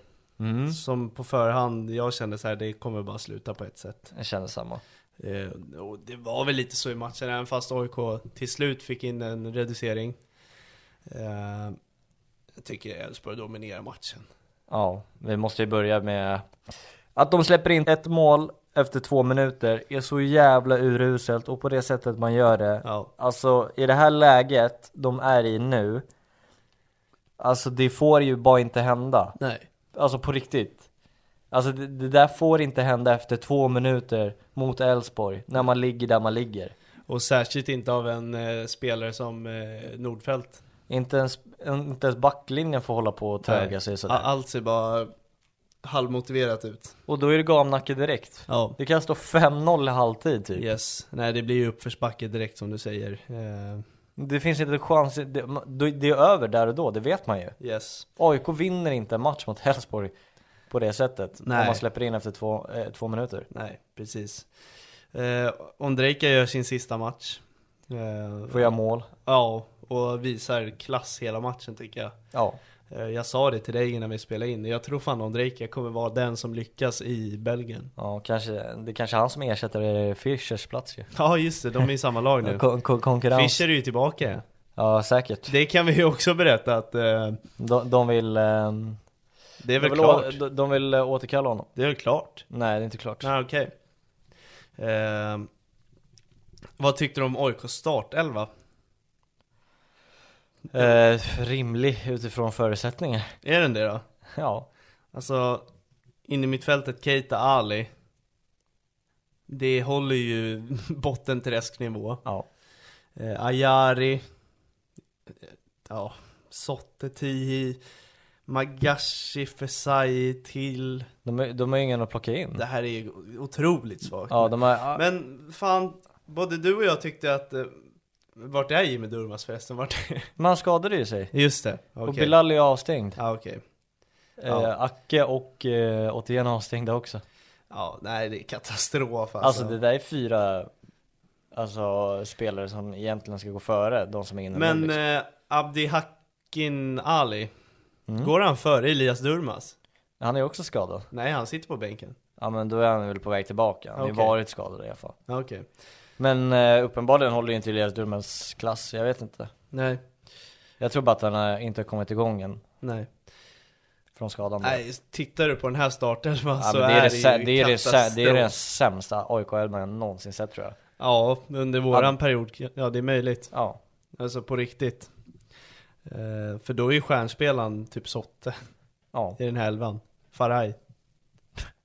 Speaker 2: Som på förhand, jag kände så här, det kommer bara sluta på ett sätt.
Speaker 3: Jag känner samma.
Speaker 2: Eh, och det var väl lite så i matchen, även fast AIK till slut fick in en reducering. Eh, jag tycker Elfsborg dominerar matchen.
Speaker 3: Ja, vi måste ju börja med att de släpper in ett mål efter två minuter är så jävla uruselt och på det sättet man gör det.
Speaker 2: Ja.
Speaker 3: Alltså i det här läget de är i nu, alltså det får ju bara inte hända.
Speaker 2: Nej.
Speaker 3: Alltså på riktigt. Alltså det, det där får inte hända efter två minuter mot Elfsborg, när man ligger där man ligger.
Speaker 2: Och särskilt inte av en eh, spelare som eh, Nordfeldt.
Speaker 3: Inte ens, inte ens backlinjen får hålla på och tröga sig sådär.
Speaker 2: A- Allt ser bara halvmotiverat ut.
Speaker 3: Och då är det gamnacke direkt.
Speaker 2: Ja.
Speaker 3: Det kan stå 5-0 i halvtid typ.
Speaker 2: Yes. Nej, det blir ju uppförsbacke direkt som du säger. Eh,
Speaker 3: Det finns inte en chans, det, det- det är över där och då, det vet man ju.
Speaker 2: yes.
Speaker 3: AIK vinner inte en match mot Elfsborg på det sättet.
Speaker 2: Nej.
Speaker 3: Om man släpper in efter två, eh, två minuter.
Speaker 2: Nej, precis. Eh, Ondrejka gör sin sista match. Eh,
Speaker 3: Får jag mål?
Speaker 2: Ja, och visar klass hela matchen tycker jag.
Speaker 3: Ja.
Speaker 2: Eh, jag sa det till dig innan vi spelade in. Jag tror fan Ondrejka kommer vara den som lyckas i Belgien.
Speaker 3: ja kanske, det är kanske är han som ersätter eh, Fischers plats ju.
Speaker 2: Ja, just det. De är i samma lag nu.
Speaker 3: Kon- kon- konkurrens.
Speaker 2: Fischer är ju tillbaka.
Speaker 3: Ja säkert.
Speaker 2: Det kan vi ju också berätta att eh,
Speaker 3: De, de vill... ehm,
Speaker 2: det är väl
Speaker 3: de vill,
Speaker 2: klart.
Speaker 3: å, de- de vill eh, återkalla honom.
Speaker 2: Det är väl klart.
Speaker 3: Nej det är inte klart.
Speaker 2: Nej, okej. Ehm, vad tyckte du om AIKs startelva?
Speaker 3: Eh, rimlig utifrån förutsättningar.
Speaker 2: Är den det då?
Speaker 3: Ja.
Speaker 2: Alltså, in i mittfältet Keita Ali. Det håller ju bottenträsknivå.
Speaker 3: ja.
Speaker 2: Eh, Ayari. Eh, Ja, Sotte Tihi. Magashi, Fesai, till.
Speaker 3: De, är- de har ju ingen att plocka in.
Speaker 2: Det här är ju otroligt svagt.
Speaker 3: Ja de har...
Speaker 2: Men fan, både du och jag tyckte att... Eh, vart är Jimmy Durmaz förresten? Vart är...
Speaker 3: Men han skadade ju sig.
Speaker 2: Just det, okej.
Speaker 3: Och Bilal är avstängd.
Speaker 2: Ja, okej. Ja.
Speaker 3: Eh, Acke och eh, Ottien avstängda också.
Speaker 2: Ja, nej det är katastrof alltså.
Speaker 3: Alltså det där är fyra Alltså spelare som egentligen ska gå före de som är inne nu,
Speaker 2: Men
Speaker 3: liksom.
Speaker 2: eh, Abdi Hakin Ali,
Speaker 3: Mm.
Speaker 2: går han före Elias Durmaz?
Speaker 3: Han är också skadad.
Speaker 2: Nej, han sitter på bänken.
Speaker 3: Ja men då är han väl på väg tillbaka. Han har ju
Speaker 2: Okej.
Speaker 3: varit skadad i alla fall.
Speaker 2: Ja, Okej.
Speaker 3: Men eh, uppenbarligen håller ju inte Elias Durmans klass, jag vet inte.
Speaker 2: Nej,
Speaker 3: Jag tror bara att han eh, inte har kommit igång än
Speaker 2: nej.
Speaker 3: från skadan. bara.
Speaker 2: Nej, tittar du på den här startelvan
Speaker 3: ja,
Speaker 2: så
Speaker 3: men det, är det,
Speaker 2: ju
Speaker 3: sä- det, är det, sä- det är den
Speaker 2: katastrof.
Speaker 3: sämsta AIK-elvan jag någonsin sett tror jag.
Speaker 2: Ja, under våran period, ja det är möjligt.
Speaker 3: Ja,
Speaker 2: Alltså på riktigt. Eh, för då är ju stjärnspelaren typ Sotte
Speaker 3: ja.
Speaker 2: i den här elvan. Faraj.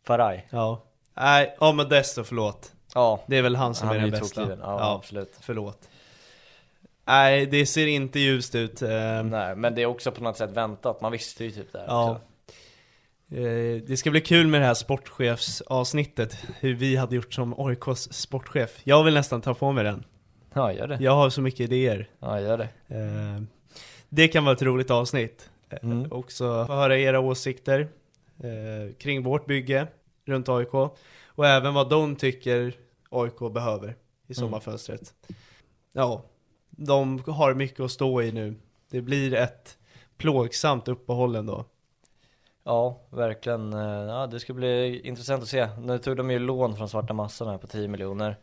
Speaker 3: Faraj.
Speaker 2: Ja. Nej, ja men desto förlåt.
Speaker 3: Ja,
Speaker 2: Det är väl han som
Speaker 3: han
Speaker 2: är
Speaker 3: är
Speaker 2: den
Speaker 3: ju
Speaker 2: bästa.
Speaker 3: tokgiven. Ja, absolut.
Speaker 2: Förlåt. Nej, det ser inte ljust ut. Eh,
Speaker 3: Nej, men det är också på något sätt väntat. Man visste ju typ det här
Speaker 2: ja.
Speaker 3: också.
Speaker 2: Eh, Det ska bli kul med det här sportchefsavsnittet, hur vi hade gjort som AIKs sportchef. Jag vill nästan ta på mig den.
Speaker 3: Ja, gör det.
Speaker 2: Jag har så mycket idéer.
Speaker 3: Ja, gör det.
Speaker 2: Eh, Det kan vara ett roligt avsnitt.
Speaker 3: Mm.
Speaker 2: Mm. Också få höra era åsikter eh, kring vårt bygge runt AIK och även vad de tycker AIK behöver
Speaker 3: Mm.
Speaker 2: i sommarfönstret. Ja, de har mycket att stå i nu. Det blir ett plågsamt uppehåll ändå.
Speaker 3: Ja, verkligen. Eh, Ja, det ska bli intressant att se. Nu tog de ju lån från svarta massan här på 10 miljoner.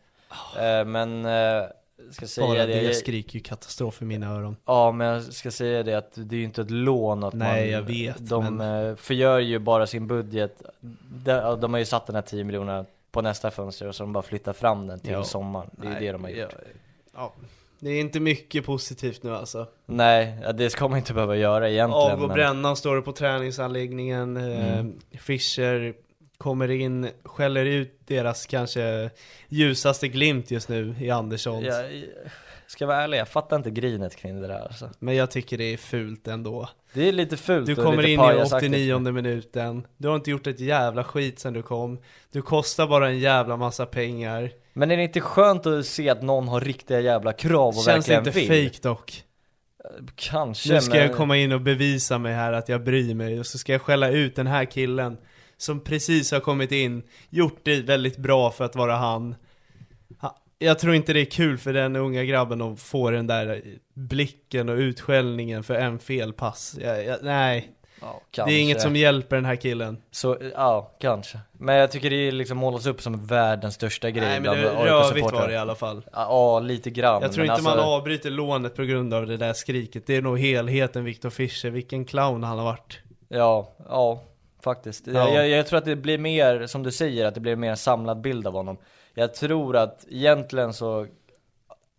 Speaker 3: Eh, Men, eh, ska säga
Speaker 2: Ah. Bara
Speaker 3: det.
Speaker 2: det, jag skriker ju katastrof i mina öron.
Speaker 3: Ja, men jag ska säga det att det är ju inte ett lån att
Speaker 2: Nej,
Speaker 3: man,
Speaker 2: jag vet,
Speaker 3: de eh, förgör ju bara sin budget. De, de har ju satt den här 10 miljonerna på nästa fönster och så de bara flyttar fram den till
Speaker 2: Ja.
Speaker 3: sommaren. Det är ju
Speaker 2: Nej,
Speaker 3: det de har gjort.
Speaker 2: ja, ja. Det är inte mycket positivt nu alltså.
Speaker 3: Nej, ja, det ska man inte behöva göra egentligen.
Speaker 2: Av och
Speaker 3: men- Mm.
Speaker 2: brännan står det på träningsanläggningen. Eh, Fischer kommer in, skäller ut deras kanske ljusaste glimt just nu i Andersson.
Speaker 3: Jag, jag ska vara ärlig, jag fattar inte grinet kring det där alltså.
Speaker 2: Men jag tycker det är fult ändå.
Speaker 3: Det är lite fult
Speaker 2: Du
Speaker 3: och
Speaker 2: kommer
Speaker 3: lite
Speaker 2: in i
Speaker 3: pajasaktigt.
Speaker 2: 89 minuten. Du har inte gjort ett jävla skit sen du kom. Du kostar bara en jävla massa pengar.
Speaker 3: Men är det inte skönt att se att någon har riktiga jävla krav och
Speaker 2: Känns
Speaker 3: verkligen
Speaker 2: inte
Speaker 3: vill?
Speaker 2: fake dock.
Speaker 3: Kanske
Speaker 2: Nu ska
Speaker 3: men...
Speaker 2: jag komma in och bevisa mig här att jag bryr mig och så ska jag skälla ut den här killen som precis har kommit in, gjort det väldigt bra för att vara han. Ha- Jag tror inte det är kul för den unga grabben att få den där blicken och utskällningen för en felpass. Jag, jag, nej,
Speaker 3: Ja, kanske.
Speaker 2: det är inget som hjälper den här killen.
Speaker 3: Så, ja, kanske. Men jag tycker det liksom målas upp som världens största grej
Speaker 2: Nej men det
Speaker 3: bland
Speaker 2: rövigt
Speaker 3: AIK-supportrar.
Speaker 2: var det i alla fall.
Speaker 3: Ja, lite grann.
Speaker 2: Jag tror
Speaker 3: men
Speaker 2: inte
Speaker 3: alltså,
Speaker 2: man avbryter lånet på grund av det där skriket. Det är nog helheten Viktor Fischer, vilken clown han har varit.
Speaker 3: Ja, ja, faktiskt.
Speaker 2: Ja.
Speaker 3: Jag, jag, jag tror att det blir mer, som du säger, att det blir mer en samlad bild av honom. Jag tror att egentligen så,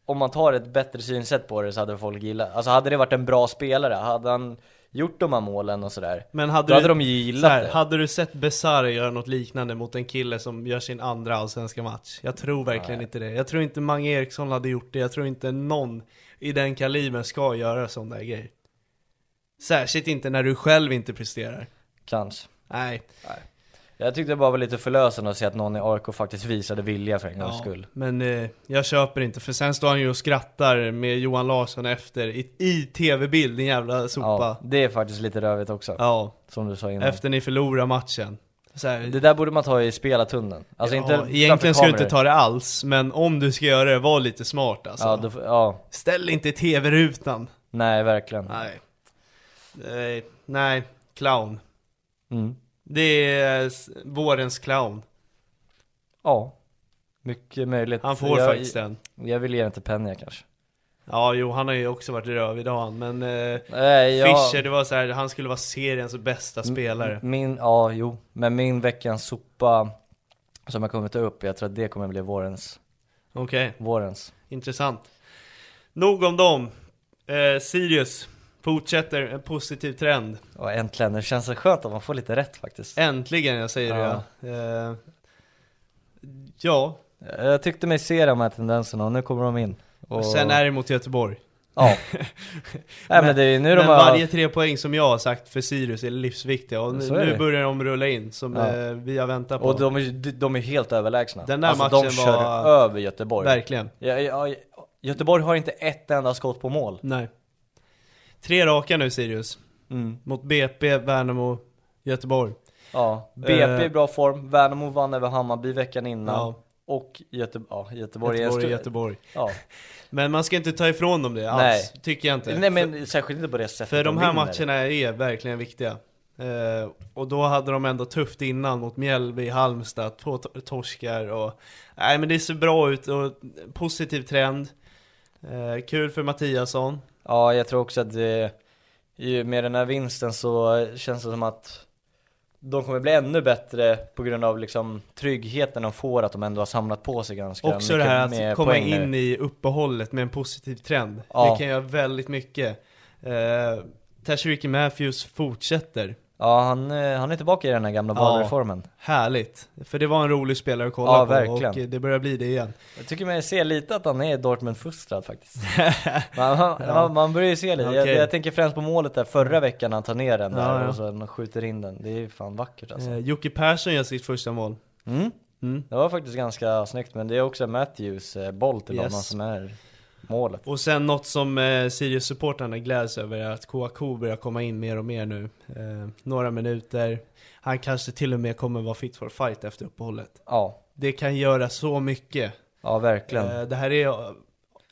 Speaker 3: om man tar ett bättre synsätt på det så hade folk gillat. Alltså hade det varit en bra spelare, hade han gjort de här målen och sådär.
Speaker 2: Men hade
Speaker 3: Då
Speaker 2: du,
Speaker 3: hade de ju gillat
Speaker 2: så här,
Speaker 3: det.
Speaker 2: Hade du sett Besara göra något liknande mot en kille som gör sin andra allsvenska match? Jag tror verkligen inte det. Jag tror inte Mange Eriksson hade gjort det. Jag tror inte någon i den kalibern ska göra sån där grej. Särskilt inte när du själv inte presterar.
Speaker 3: Kanske.
Speaker 2: Nej.
Speaker 3: Jag tyckte det bara var lite förlösande att se att någon i AIK faktiskt visade vilja för en gångs skull.
Speaker 2: Men eh, jag köper inte, för sen står han ju och skrattar med Johan Larsson efter i, i tv-bild, din jävla sopa.
Speaker 3: Ja, det är faktiskt lite rövigt också.
Speaker 2: Ja.
Speaker 3: Som du sa innan.
Speaker 2: Efter ni förlorar matchen. Så här,
Speaker 3: Det där borde man ta i spelartunneln. Alltså inte
Speaker 2: ja,
Speaker 3: framför
Speaker 2: egentligen ska du
Speaker 3: kameror.
Speaker 2: inte ta det alls, men om du ska göra det, var lite smart alltså.
Speaker 3: Ja, då, får- ja,
Speaker 2: Ställ inte i tv-rutan.
Speaker 3: nej verkligen.
Speaker 2: Nej. Nej, nej, clown.
Speaker 3: Mm.
Speaker 2: Det är s- vårens clown.
Speaker 3: Ja, mycket möjligt.
Speaker 2: Han får
Speaker 3: jag,
Speaker 2: faktiskt den.
Speaker 3: Jag vill ge den till Penja kanske.
Speaker 2: Ja, jo, han har ju också varit röv idag han, men eh,
Speaker 3: Nej, jag-
Speaker 2: Fischer, det var så här, han skulle vara seriens bästa
Speaker 3: Mm.
Speaker 2: spelare.
Speaker 3: Min, ja, jo. Men min veckans sopa som jag kommer ta upp, jag tror att det kommer bli vårens.
Speaker 2: Okej,
Speaker 3: Vårens.
Speaker 2: intressant. Nog om dem. Eh, Sirius fortsätter en positiv trend.
Speaker 3: Ja, äntligen. Det känns så skönt att man får lite rätt faktiskt.
Speaker 2: Äntligen, jag säger
Speaker 3: Ja.
Speaker 2: det. ja. Eh, ja,
Speaker 3: Jag tyckte mig se de här tendenserna och nu kommer de in. Och,
Speaker 2: sen är det mot Göteborg.
Speaker 3: Ja. Nej men det är ju nu
Speaker 2: Men
Speaker 3: de har...
Speaker 2: varje tre poäng som jag har sagt för Sirius är livsviktiga och nu,
Speaker 3: Så är
Speaker 2: nu
Speaker 3: det.
Speaker 2: börjar de rulla in som
Speaker 3: Ja.
Speaker 2: eh, vi har väntat på.
Speaker 3: Och de är, de är helt överlägsna.
Speaker 2: Den där
Speaker 3: alltså de
Speaker 2: matchen
Speaker 3: kör
Speaker 2: var-
Speaker 3: över Göteborg.
Speaker 2: Verkligen.
Speaker 3: Ja, ja, ja, Göteborg har inte ett enda skott på mål.
Speaker 2: Nej. Tre raka nu Sirius.
Speaker 3: Mm.
Speaker 2: Mot BP, Värnamo, Göteborg.
Speaker 3: Ja, BP i
Speaker 2: Eh.
Speaker 3: bra form, Värnamo vann över Hammarby veckan innan.
Speaker 2: Ja.
Speaker 3: och Göte- ja, Göteborg.
Speaker 2: Göteborg är
Speaker 3: är
Speaker 2: Göteborg.
Speaker 3: Ja.
Speaker 2: Men man ska inte ta ifrån dem det alls,
Speaker 3: Nej.
Speaker 2: tycker jag inte.
Speaker 3: Nej men särskilt inte på det sättet
Speaker 2: För de här
Speaker 3: vinner.
Speaker 2: matcherna är verkligen viktiga. Eh, och då hade de ändå tufft innan mot Mjällby, Halmstad, två to- torskar och... Nej men det ser bra ut och positiv trend. Eh, kul för Mattiasson.
Speaker 3: Ja, jag tror också att det, ju med den här vinsten så känns det som att de kommer bli ännu bättre på grund av liksom tryggheten de får att de ändå har samlat på sig ganska
Speaker 2: Också det
Speaker 3: mycket
Speaker 2: här
Speaker 3: med
Speaker 2: att komma
Speaker 3: poäng nu.
Speaker 2: in i uppehållet med en positiv trend.
Speaker 3: Ja.
Speaker 2: Det kan göra väldigt mycket. Eh, Tashiriki Matthews fortsätter.
Speaker 3: Ja, han, eh, han är tillbaka i den här gamla
Speaker 2: Ja.
Speaker 3: valreformen.
Speaker 2: Härligt! För det var en rolig spelare att kolla
Speaker 3: Ja,
Speaker 2: på och
Speaker 3: verkligen.
Speaker 2: eh, det börjar bli det igen.
Speaker 3: Jag tycker man ser lite att han är Dortmund-fostrad faktiskt. man, man, man- man börjar ju se lite. Jag,
Speaker 2: Okej.
Speaker 3: jag tänker främst på målet där förra veckan när han tar ner den där
Speaker 2: Ja, ja.
Speaker 3: och sen skjuter in den. Det är ju fan vackert alltså.
Speaker 2: Eh, Jocke Persson gör sitt första mål.
Speaker 3: Mm.
Speaker 2: Mm.
Speaker 3: Det var faktiskt ganska snyggt men det är också Matthews eh, boll till banan
Speaker 2: Yes.
Speaker 3: som är målet.
Speaker 2: Och sen något som eh, Sirius-supportrarna gläds över är att Kouakou börjar komma in mer och mer nu. Eh, några minuter. Han kanske till och med kommer vara fit for fight efter uppehållet.
Speaker 3: Ja,
Speaker 2: Det kan göra så mycket.
Speaker 3: ja verkligen.
Speaker 2: Eh, det här är eh,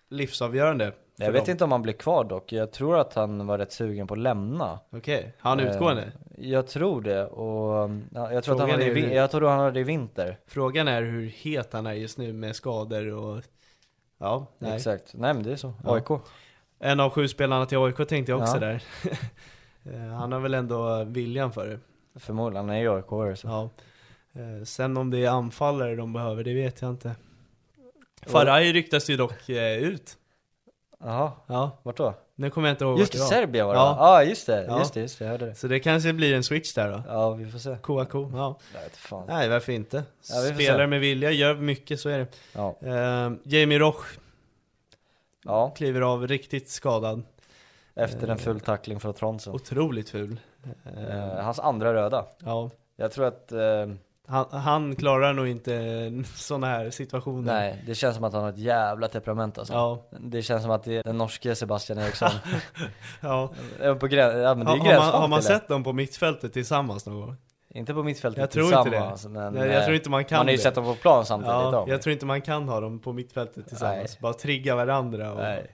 Speaker 2: livsavgörande. för
Speaker 3: jag vet
Speaker 2: dem.
Speaker 3: inte om han blir kvar dock. Jag tror att han var rätt sugen på att lämna.
Speaker 2: Okej, han är
Speaker 3: Eh,
Speaker 2: utgående.
Speaker 3: Jag tror det och mm, ja, jag tror att
Speaker 2: Frågan
Speaker 3: han hade, i
Speaker 2: är
Speaker 3: vin-
Speaker 2: hur-
Speaker 3: jag tror han hade i vinter.
Speaker 2: Frågan är hur het han är just nu med skador och... Ja, nej.
Speaker 3: Exakt. Nej men det är så.
Speaker 2: Ja.
Speaker 3: AIK.
Speaker 2: En av sju spelarna till AIK tänkte jag också
Speaker 3: Ja.
Speaker 2: där. Eh, han har väl ändå viljan för det.
Speaker 3: Förmodligen, han är ju aik så.
Speaker 2: Ja. Eh, Sen om det är anfallare de behöver, det vet jag inte. Faraj ryktas ju dock eh, ut.
Speaker 3: Jaha,
Speaker 2: Ja,
Speaker 3: vart då?
Speaker 2: nu kommer jag inte ihåg
Speaker 3: Just det,
Speaker 2: vart det var.
Speaker 3: Serbien var det
Speaker 2: Ja.
Speaker 3: va? Ja, just det,
Speaker 2: Ja.
Speaker 3: just det, just det, jag hörde det.
Speaker 2: Så det kanske blir en switch där då.
Speaker 3: Ja, vi får se.
Speaker 2: Kouakou, ja.
Speaker 3: Jag vet fan.
Speaker 2: Nej, varför inte?
Speaker 3: Ja, vi får se.
Speaker 2: Spelare med vilja gör mycket, så är det.
Speaker 3: Ja.
Speaker 2: Eh, Jamie Roch
Speaker 3: ja,
Speaker 2: kliver av riktigt skadad.
Speaker 3: efter en full tackling från Trondsen.
Speaker 2: Otroligt ful.
Speaker 3: Eh, hans andra röda.
Speaker 2: Ja.
Speaker 3: Jag tror att, eh,
Speaker 2: Mm. Han, han klarar nog inte sådana här situationer.
Speaker 3: nej, det känns som att han har ett jävla temperament alltså.
Speaker 2: Ja,
Speaker 3: Det känns som att det är den norske Sebastian Eriksson.
Speaker 2: ja.
Speaker 3: Eh, på grän- ja, men det är
Speaker 2: Har,
Speaker 3: ju
Speaker 2: har
Speaker 3: gränsfall
Speaker 2: man, har man
Speaker 3: till det.
Speaker 2: sett dem på mittfältet tillsammans någon gång?
Speaker 3: Inte på mittfältet
Speaker 2: Jag tror inte
Speaker 3: tillsammans.
Speaker 2: det.
Speaker 3: Men,
Speaker 2: Nej, jag
Speaker 3: eh,
Speaker 2: tror inte man kan
Speaker 3: Man har ju
Speaker 2: det.
Speaker 3: sett dem på plan samtidigt.
Speaker 2: Ja,
Speaker 3: om.
Speaker 2: jag tror inte man kan ha dem på mittfältet tillsammans,
Speaker 3: Nej.
Speaker 2: bara trigga varandra och...
Speaker 3: Nej.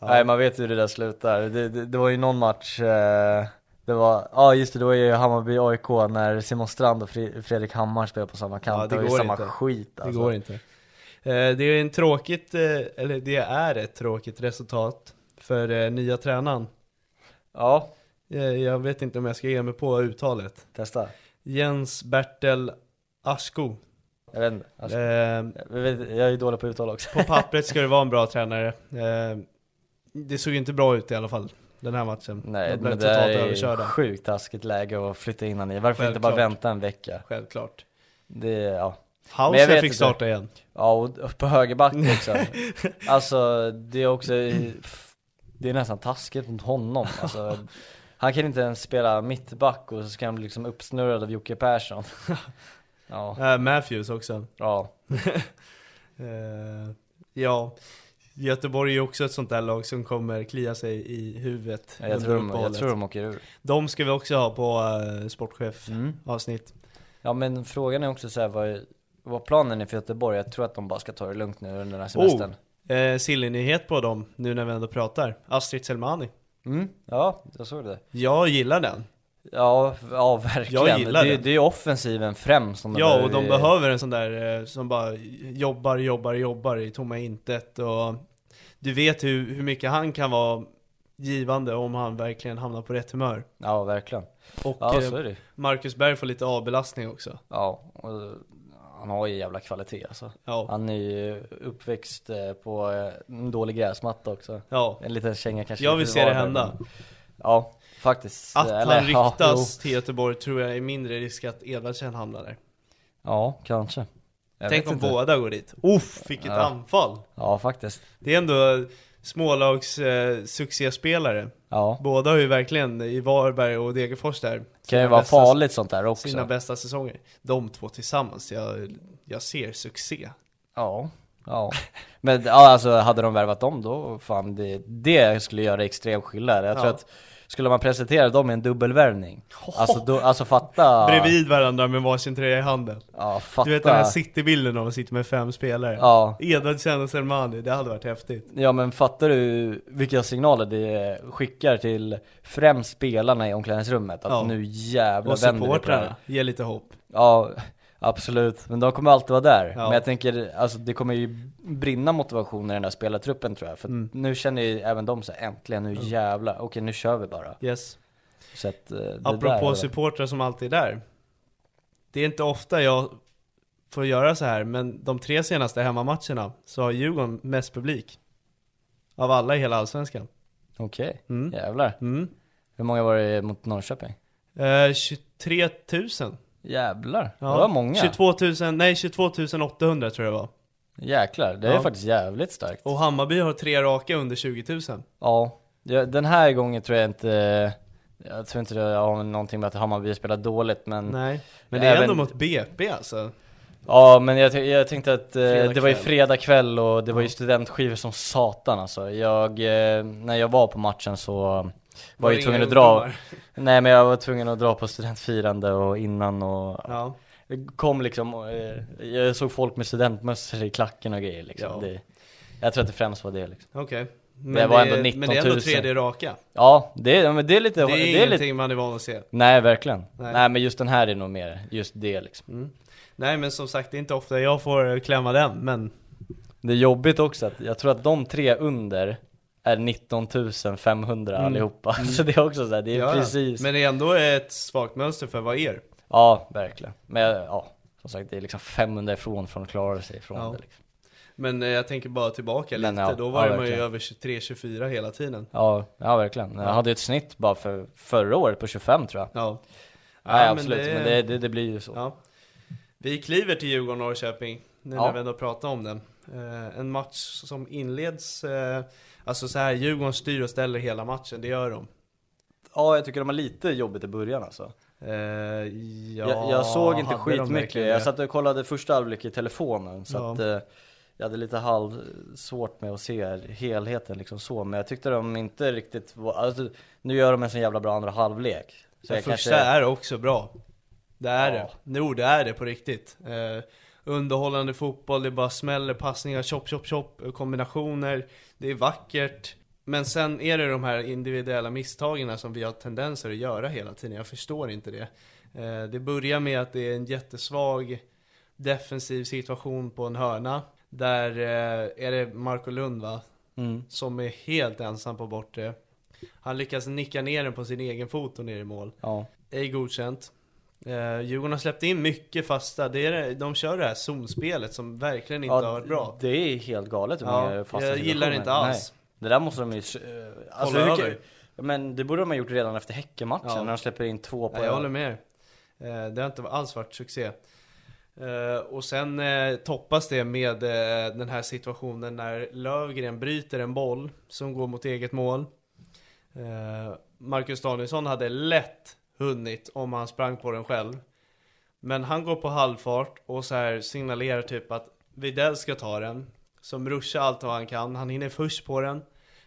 Speaker 3: Nej, man vet ju hur det där slutar. Det, det, det var ju någon match, eh, det var, ja just det, det var ju Hammarby-AIK när Simon Strand och Fre- Fredrik Hammar spelade på samma kant.
Speaker 2: Ja, det
Speaker 3: det, var
Speaker 2: går
Speaker 3: ju samma
Speaker 2: inte.
Speaker 3: skit
Speaker 2: Det
Speaker 3: alltså.
Speaker 2: går inte. Eh, Det är en tråkigt, eh, eller det är ett tråkigt resultat för eh, nya tränaren.
Speaker 3: Ja,
Speaker 2: Eh, Jag vet inte om jag ska ge mig på uttalet.
Speaker 3: testa.
Speaker 2: Jens Bertel Asko.
Speaker 3: Jag vet inte. Alltså,
Speaker 2: Eh,
Speaker 3: jag, vet, jag är ju dålig på uttal också.
Speaker 2: På pappret ska det vara en bra tränare. Eh, Det såg inte bra ut i alla fall, den här matchen.
Speaker 3: Nej,
Speaker 2: De blev
Speaker 3: men det där
Speaker 2: totalt
Speaker 3: är ju
Speaker 2: överkörda.
Speaker 3: sjukt taskigt läge att flytta in han i. Varför inte bara
Speaker 2: Självklart.
Speaker 3: vänta en vecka?
Speaker 2: Självklart.
Speaker 3: Det, ja. Men jag
Speaker 2: Hauser
Speaker 3: vet
Speaker 2: fick
Speaker 3: inte.
Speaker 2: starta igen.
Speaker 3: Ja, och på högerback också. alltså, det är också, f- det är nästan taskigt mot honom. Alltså, han kan inte ens spela mittback och så ska han bli liksom uppsnurrad av Jocke Persson. ja,
Speaker 2: Eh, Matthews också.
Speaker 3: ja.
Speaker 2: Eh, ja, Göteborg är ju också ett sånt där lag som kommer klia sig i huvudet
Speaker 3: Jag
Speaker 2: under
Speaker 3: tror, de, jag
Speaker 2: uppehållet.
Speaker 3: tror de åker ur.
Speaker 2: De ska vi också ha på eh, sportchef avsnitt.
Speaker 3: Ja men frågan är också så här, vad, vad planen är för Göteborg. Jag tror att de bara ska ta det lugnt nu under den här semestern.
Speaker 2: Oh, eh, silly-nyhet på dem nu när vi ändå pratar. Astrid Selmani.
Speaker 3: Mm, ja, jag såg det.
Speaker 2: Jag gillar den.
Speaker 3: Ja, ja verkligen.
Speaker 2: Jag gillar
Speaker 3: det,
Speaker 2: den.
Speaker 3: det är offensiven främst som
Speaker 2: Ja, och de behöver en sån där eh, som bara jobbar, jobbar, jobbar i tomma intet. Och du vet hur, hur mycket han kan vara givande om han verkligen hamnar på rätt humör.
Speaker 3: Ja, verkligen.
Speaker 2: Och
Speaker 3: Ja,
Speaker 2: eh,
Speaker 3: så är det ju.
Speaker 2: Marcus Berg får lite avbelastning också.
Speaker 3: Ja, och han har ju jävla kvalitet alltså.
Speaker 2: Ja.
Speaker 3: Han är ju uppväxt eh, på eh, en dålig gräsmatta också.
Speaker 2: Ja.
Speaker 3: En liten känga kanske.
Speaker 2: Jag
Speaker 3: inte
Speaker 2: vill se det
Speaker 3: var där,
Speaker 2: hända.
Speaker 3: men- Ja, faktiskt.
Speaker 2: Att
Speaker 3: Eller,
Speaker 2: han
Speaker 3: ja,
Speaker 2: ryktas till Göteborg tror jag är mindre risk att Edvardsen hamnar där.
Speaker 3: jo. Ja, kanske. Jag
Speaker 2: Tänk
Speaker 3: vet
Speaker 2: om
Speaker 3: inte.
Speaker 2: båda går dit. Uff, vilket
Speaker 3: Ja.
Speaker 2: anfall!
Speaker 3: Ja, faktiskt.
Speaker 2: Det är ändå smålags eh, succéspelare.
Speaker 3: Ja,
Speaker 2: Båda har ju verkligen i Varberg och Degerfors där.
Speaker 3: kan ju
Speaker 2: sina
Speaker 3: vara
Speaker 2: bästa-
Speaker 3: farligt sånt där också.
Speaker 2: Sina bästa säsonger. De två tillsammans, jag, jag ser succé.
Speaker 3: Ja, ja. Men ja, alltså hade de värvat dem då, fan det, det skulle göra extrem skillnad. Jag tror
Speaker 2: Ja.
Speaker 3: att Skulle man presentera dem i en dubbelvärvning? Alltså, då, alltså fatta...
Speaker 2: Bredvid varandra med varsin tröja i handen.
Speaker 3: Ja, fatta...
Speaker 2: Du vet den här citybilden när man sitter med fem spelare.
Speaker 3: Ja.
Speaker 2: Edward Chen och Selmani, det hade varit häftigt.
Speaker 3: Ja men fattar du vilka signaler det skickar till främst spelarna i omklädningsrummet? Att
Speaker 2: Ja.
Speaker 3: nu jävlar
Speaker 2: Och
Speaker 3: vänder vi på det här.
Speaker 2: supportrarna, ge lite hopp.
Speaker 3: Ja, absolut. Men de kommer alltid vara där.
Speaker 2: Ja.
Speaker 3: Men jag tänker, alltså det kommer ju brinna motivation i den där spelartruppen tror jag. För
Speaker 2: Mm.
Speaker 3: nu känner ju även de så här, äntligen, nu jävlar, okej nu kör vi bara.
Speaker 2: Yes.
Speaker 3: Så att, eh, det
Speaker 2: Apropå
Speaker 3: där,
Speaker 2: supportrar som alltid är där. Det är inte ofta jag får göra så här, men de tre senaste hemmamatcherna så har Djurgården mest publik. Av alla i hela Allsvenskan.
Speaker 3: Okej,
Speaker 2: Mm.
Speaker 3: jävlar.
Speaker 2: Mm.
Speaker 3: Hur många var det mot Norrköping?
Speaker 2: Eh, 23 000.
Speaker 3: Jävlar,
Speaker 2: Ja.
Speaker 3: det var många.
Speaker 2: 22 000, nej 22 800 tror jag det var.
Speaker 3: Jäklar, det är
Speaker 2: Ja.
Speaker 3: faktiskt jävligt starkt.
Speaker 2: Och Hammarby har tre raka under 20 000.
Speaker 3: Ja, ja, den här gången tror jag inte, jag tror inte det har någonting med att Hammarby spelar dåligt men
Speaker 2: Nej. Men det är
Speaker 3: Även-
Speaker 2: ändå mot BP alltså.
Speaker 3: Ja men jag, ty- jag tänkte att eh,
Speaker 2: Fredag
Speaker 3: det var ju
Speaker 2: kväll.
Speaker 3: fredag kväll och det var ju studentskivor som satan alltså. Jag, eh, när jag var på matchen så var, jag ju
Speaker 2: det
Speaker 3: tvungen
Speaker 2: inga
Speaker 3: att dra,
Speaker 2: ungdomar?
Speaker 3: nej men jag var tvungen att dra på studentfirande och innan och
Speaker 2: Ja.
Speaker 3: jag kom liksom, och, eh, jag såg folk med studentmössor i klacken och grejer liksom.
Speaker 2: Ja.
Speaker 3: Det, jag tror att det främst var det liksom.
Speaker 2: Okej. Men,
Speaker 3: Det var ändå
Speaker 2: är-
Speaker 3: 19
Speaker 2: men det är ändå
Speaker 3: 000.
Speaker 2: tredje raka.
Speaker 3: Ja, det, ja, men det är lite,
Speaker 2: Det är,
Speaker 3: lite
Speaker 2: ingenting man är van att se.
Speaker 3: Nej verkligen.
Speaker 2: Nej.
Speaker 3: Nej. men just den här är nog mer just det liksom.
Speaker 2: Nej men som sagt, det är inte ofta jag får klämma den, men
Speaker 3: Det är jobbigt också att jag tror att de tre under är 19 500 allihopa. Så det är också så här, det är
Speaker 2: Ja, ja.
Speaker 3: precis.
Speaker 2: Men det är ändå ett svagt mönster för vad er.
Speaker 3: Ja verkligen. Men ja, som sagt det är liksom 500 ifrån från att klara sig ifrån
Speaker 2: Ja.
Speaker 3: det liksom.
Speaker 2: Men eh, jag tänker bara tillbaka
Speaker 3: Men
Speaker 2: lite,
Speaker 3: ja,
Speaker 2: då var
Speaker 3: ja,
Speaker 2: man ju
Speaker 3: verkligen.
Speaker 2: över 23-24 hela tiden.
Speaker 3: Ja, ja verkligen. Jag hade ju ett snitt bara för förra året på 25 tror jag.
Speaker 2: Ja.
Speaker 3: Nej
Speaker 2: men
Speaker 3: absolut, men, det... det, det, blir ju så.
Speaker 2: Ja. Vi kliver till Djurgården och Norrköping, nu
Speaker 3: Ja.
Speaker 2: när vi ändå pratar om den. Eh, en match som inleds, eh, alltså så här, Djurgården styr och ställer hela matchen, det gör de.
Speaker 3: Ja jag tycker de har lite jobbigt i början alltså.
Speaker 2: Eh, ja,
Speaker 3: jag, jag såg inte
Speaker 2: hade de
Speaker 3: skitmycket,
Speaker 2: verkligen
Speaker 3: jag
Speaker 2: det?
Speaker 3: satt och kollade första halvlek i telefonen så
Speaker 2: Ja.
Speaker 3: att eh, jag hade lite halv svårt med att se helheten liksom så, men jag tyckte de inte riktigt var, alltså, nu gör de en så jävla bra andra halvlek. Så
Speaker 2: Den
Speaker 3: jag
Speaker 2: första
Speaker 3: kanske,
Speaker 2: är också bra. Det är
Speaker 3: Ja.
Speaker 2: det. Jo, det är det på riktigt. Eh, underhållande fotboll, det bara smäller passningar, chop, chop, chop, eh, kombinationer. Det är vackert. Men sen är det de här individuella misstagen som vi har tendenser att göra hela tiden. Jag förstår inte det. Eh, det börjar med att det är en jättesvag defensiv situation på en hörna. Där eh, är det Marco Lund va?
Speaker 3: mm,
Speaker 2: Som är helt ensam på bortre. Han lyckas nicka ner den på sin egen fot och ner i mål.
Speaker 3: ja,
Speaker 2: Ej godkänt. Eh, Djurgården har släppt in mycket fasta. Det är, det- de kör det här zonspelet som verkligen inte
Speaker 3: ja,
Speaker 2: har varit bra.
Speaker 3: Det är helt galet hur
Speaker 2: Ja,
Speaker 3: många fasta
Speaker 2: jag
Speaker 3: situationer.
Speaker 2: gillar det inte alls.
Speaker 3: Nej. Det där måste de ju, eh, alltså,
Speaker 2: Kolla
Speaker 3: hur, kan-
Speaker 2: över.
Speaker 3: men det borde de ha gjort redan efter Häckenmatchen
Speaker 2: Ja.
Speaker 3: när de släpper in två på
Speaker 2: Nej, jag håller med er. Eh, Det har inte alls varit succé. Eh, Och sen eh, toppas det med eh, den här situationen när Lövgren bryter en boll som går mot eget mål. Eh, Marcus Danielsson hade lätt hunnit om han sprang på den själv. Men han går på halvfart och så här signalerar typ att Widell ska ta den. Som ruschar allt vad han kan. Han hinner först på den.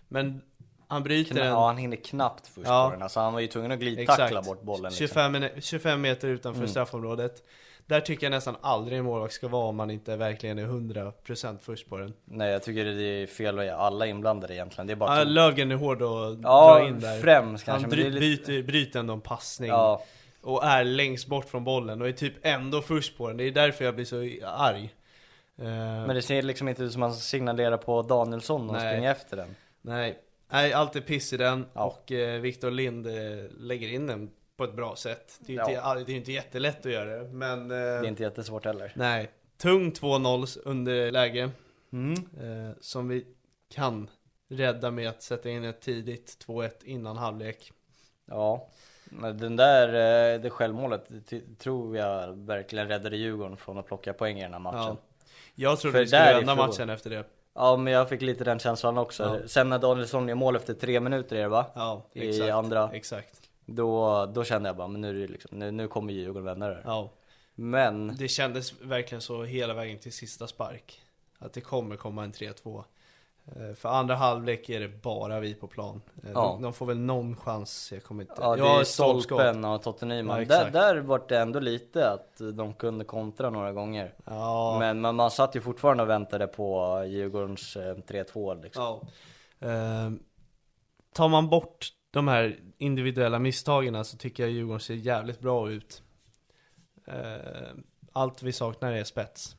Speaker 2: Men han bryter
Speaker 3: Kna-
Speaker 2: den.
Speaker 3: Ja han hinner knappt först
Speaker 2: Ja.
Speaker 3: på den, alltså, han var ju tvungen att glidtackla bort bollen liksom. Mm.
Speaker 2: 25, min- 25 meter utanför straffområdet. Där tycker jag nästan aldrig en målvakt ska vara om man inte verkligen är 100% först på den.
Speaker 3: Nej jag tycker det är fel att alla inblandade egentligen, det är bara
Speaker 2: Ah,
Speaker 3: att-
Speaker 2: Löfgren är hård och
Speaker 3: Ja,
Speaker 2: drar in där.
Speaker 3: främst
Speaker 2: Han
Speaker 3: kanske, men det är
Speaker 2: bry-
Speaker 3: lite-
Speaker 2: byter, bryter ändå en passning.
Speaker 3: Ja.
Speaker 2: Och är längst bort från bollen och är typ ändå först på den. Det är därför jag blir så arg. Eh,
Speaker 3: Men det ser liksom inte ut som att han signalerar på Danielsson och
Speaker 2: Nej.
Speaker 3: springer efter den.
Speaker 2: Nej, Nej allt är piss i den
Speaker 3: Ja.
Speaker 2: och eh, Viktor Lind eh, lägger in den på ett bra sätt. Det är ju inte,
Speaker 3: Ja.
Speaker 2: det är ju inte jättelätt att göra det, men... eh,
Speaker 3: Det är inte jättesvårt heller.
Speaker 2: Nej, tung 2-0 underläge.
Speaker 3: Mm.
Speaker 2: Eh, som vi kan rädda med att sätta in ett tidigt 2-1 innan halvlek.
Speaker 3: Ja. Men den där, eh, det självmålet t- tror jag verkligen räddade Djurgården från att plocka poäng i den här matchen.
Speaker 2: Ja. Jag trodde
Speaker 3: För
Speaker 2: vi skulle vända
Speaker 3: därifrån-
Speaker 2: matchen efter det.
Speaker 3: Ja men jag fick lite den känslan också.
Speaker 2: Ja.
Speaker 3: Sen när Danielsson gör mål efter tre minuter är det va?
Speaker 2: Ja,
Speaker 3: I
Speaker 2: exakt.
Speaker 3: andra.
Speaker 2: Exakt.
Speaker 3: Då, då kände jag bara, men nu, är det ju liksom, nu, nu kommer Djurgården vända det här.
Speaker 2: Ja.
Speaker 3: Men,
Speaker 2: Det kändes verkligen så hela vägen till sista spark. Att det kommer komma en 3-2. Eh, För andra halvlek är det bara vi på plan. Eh,
Speaker 3: Ja.
Speaker 2: De, de får väl någon chans, jag kommer inte...
Speaker 3: Ja, det
Speaker 2: har
Speaker 3: är
Speaker 2: ett stolpskott.
Speaker 3: stolpen och Totte Nyman.
Speaker 2: Ja,
Speaker 3: där,
Speaker 2: exakt.
Speaker 3: där var det ändå lite att de kunde kontra några gånger.
Speaker 2: Ja,
Speaker 3: Men man, man satt ju fortfarande och väntade på Djurgårdens eh, 3-2 liksom.
Speaker 2: ja. Eh, Tar man bort de här individuella misstagen så tycker jag Djurgården ser jävligt bra ut. Eh, Allt vi saknar är spets.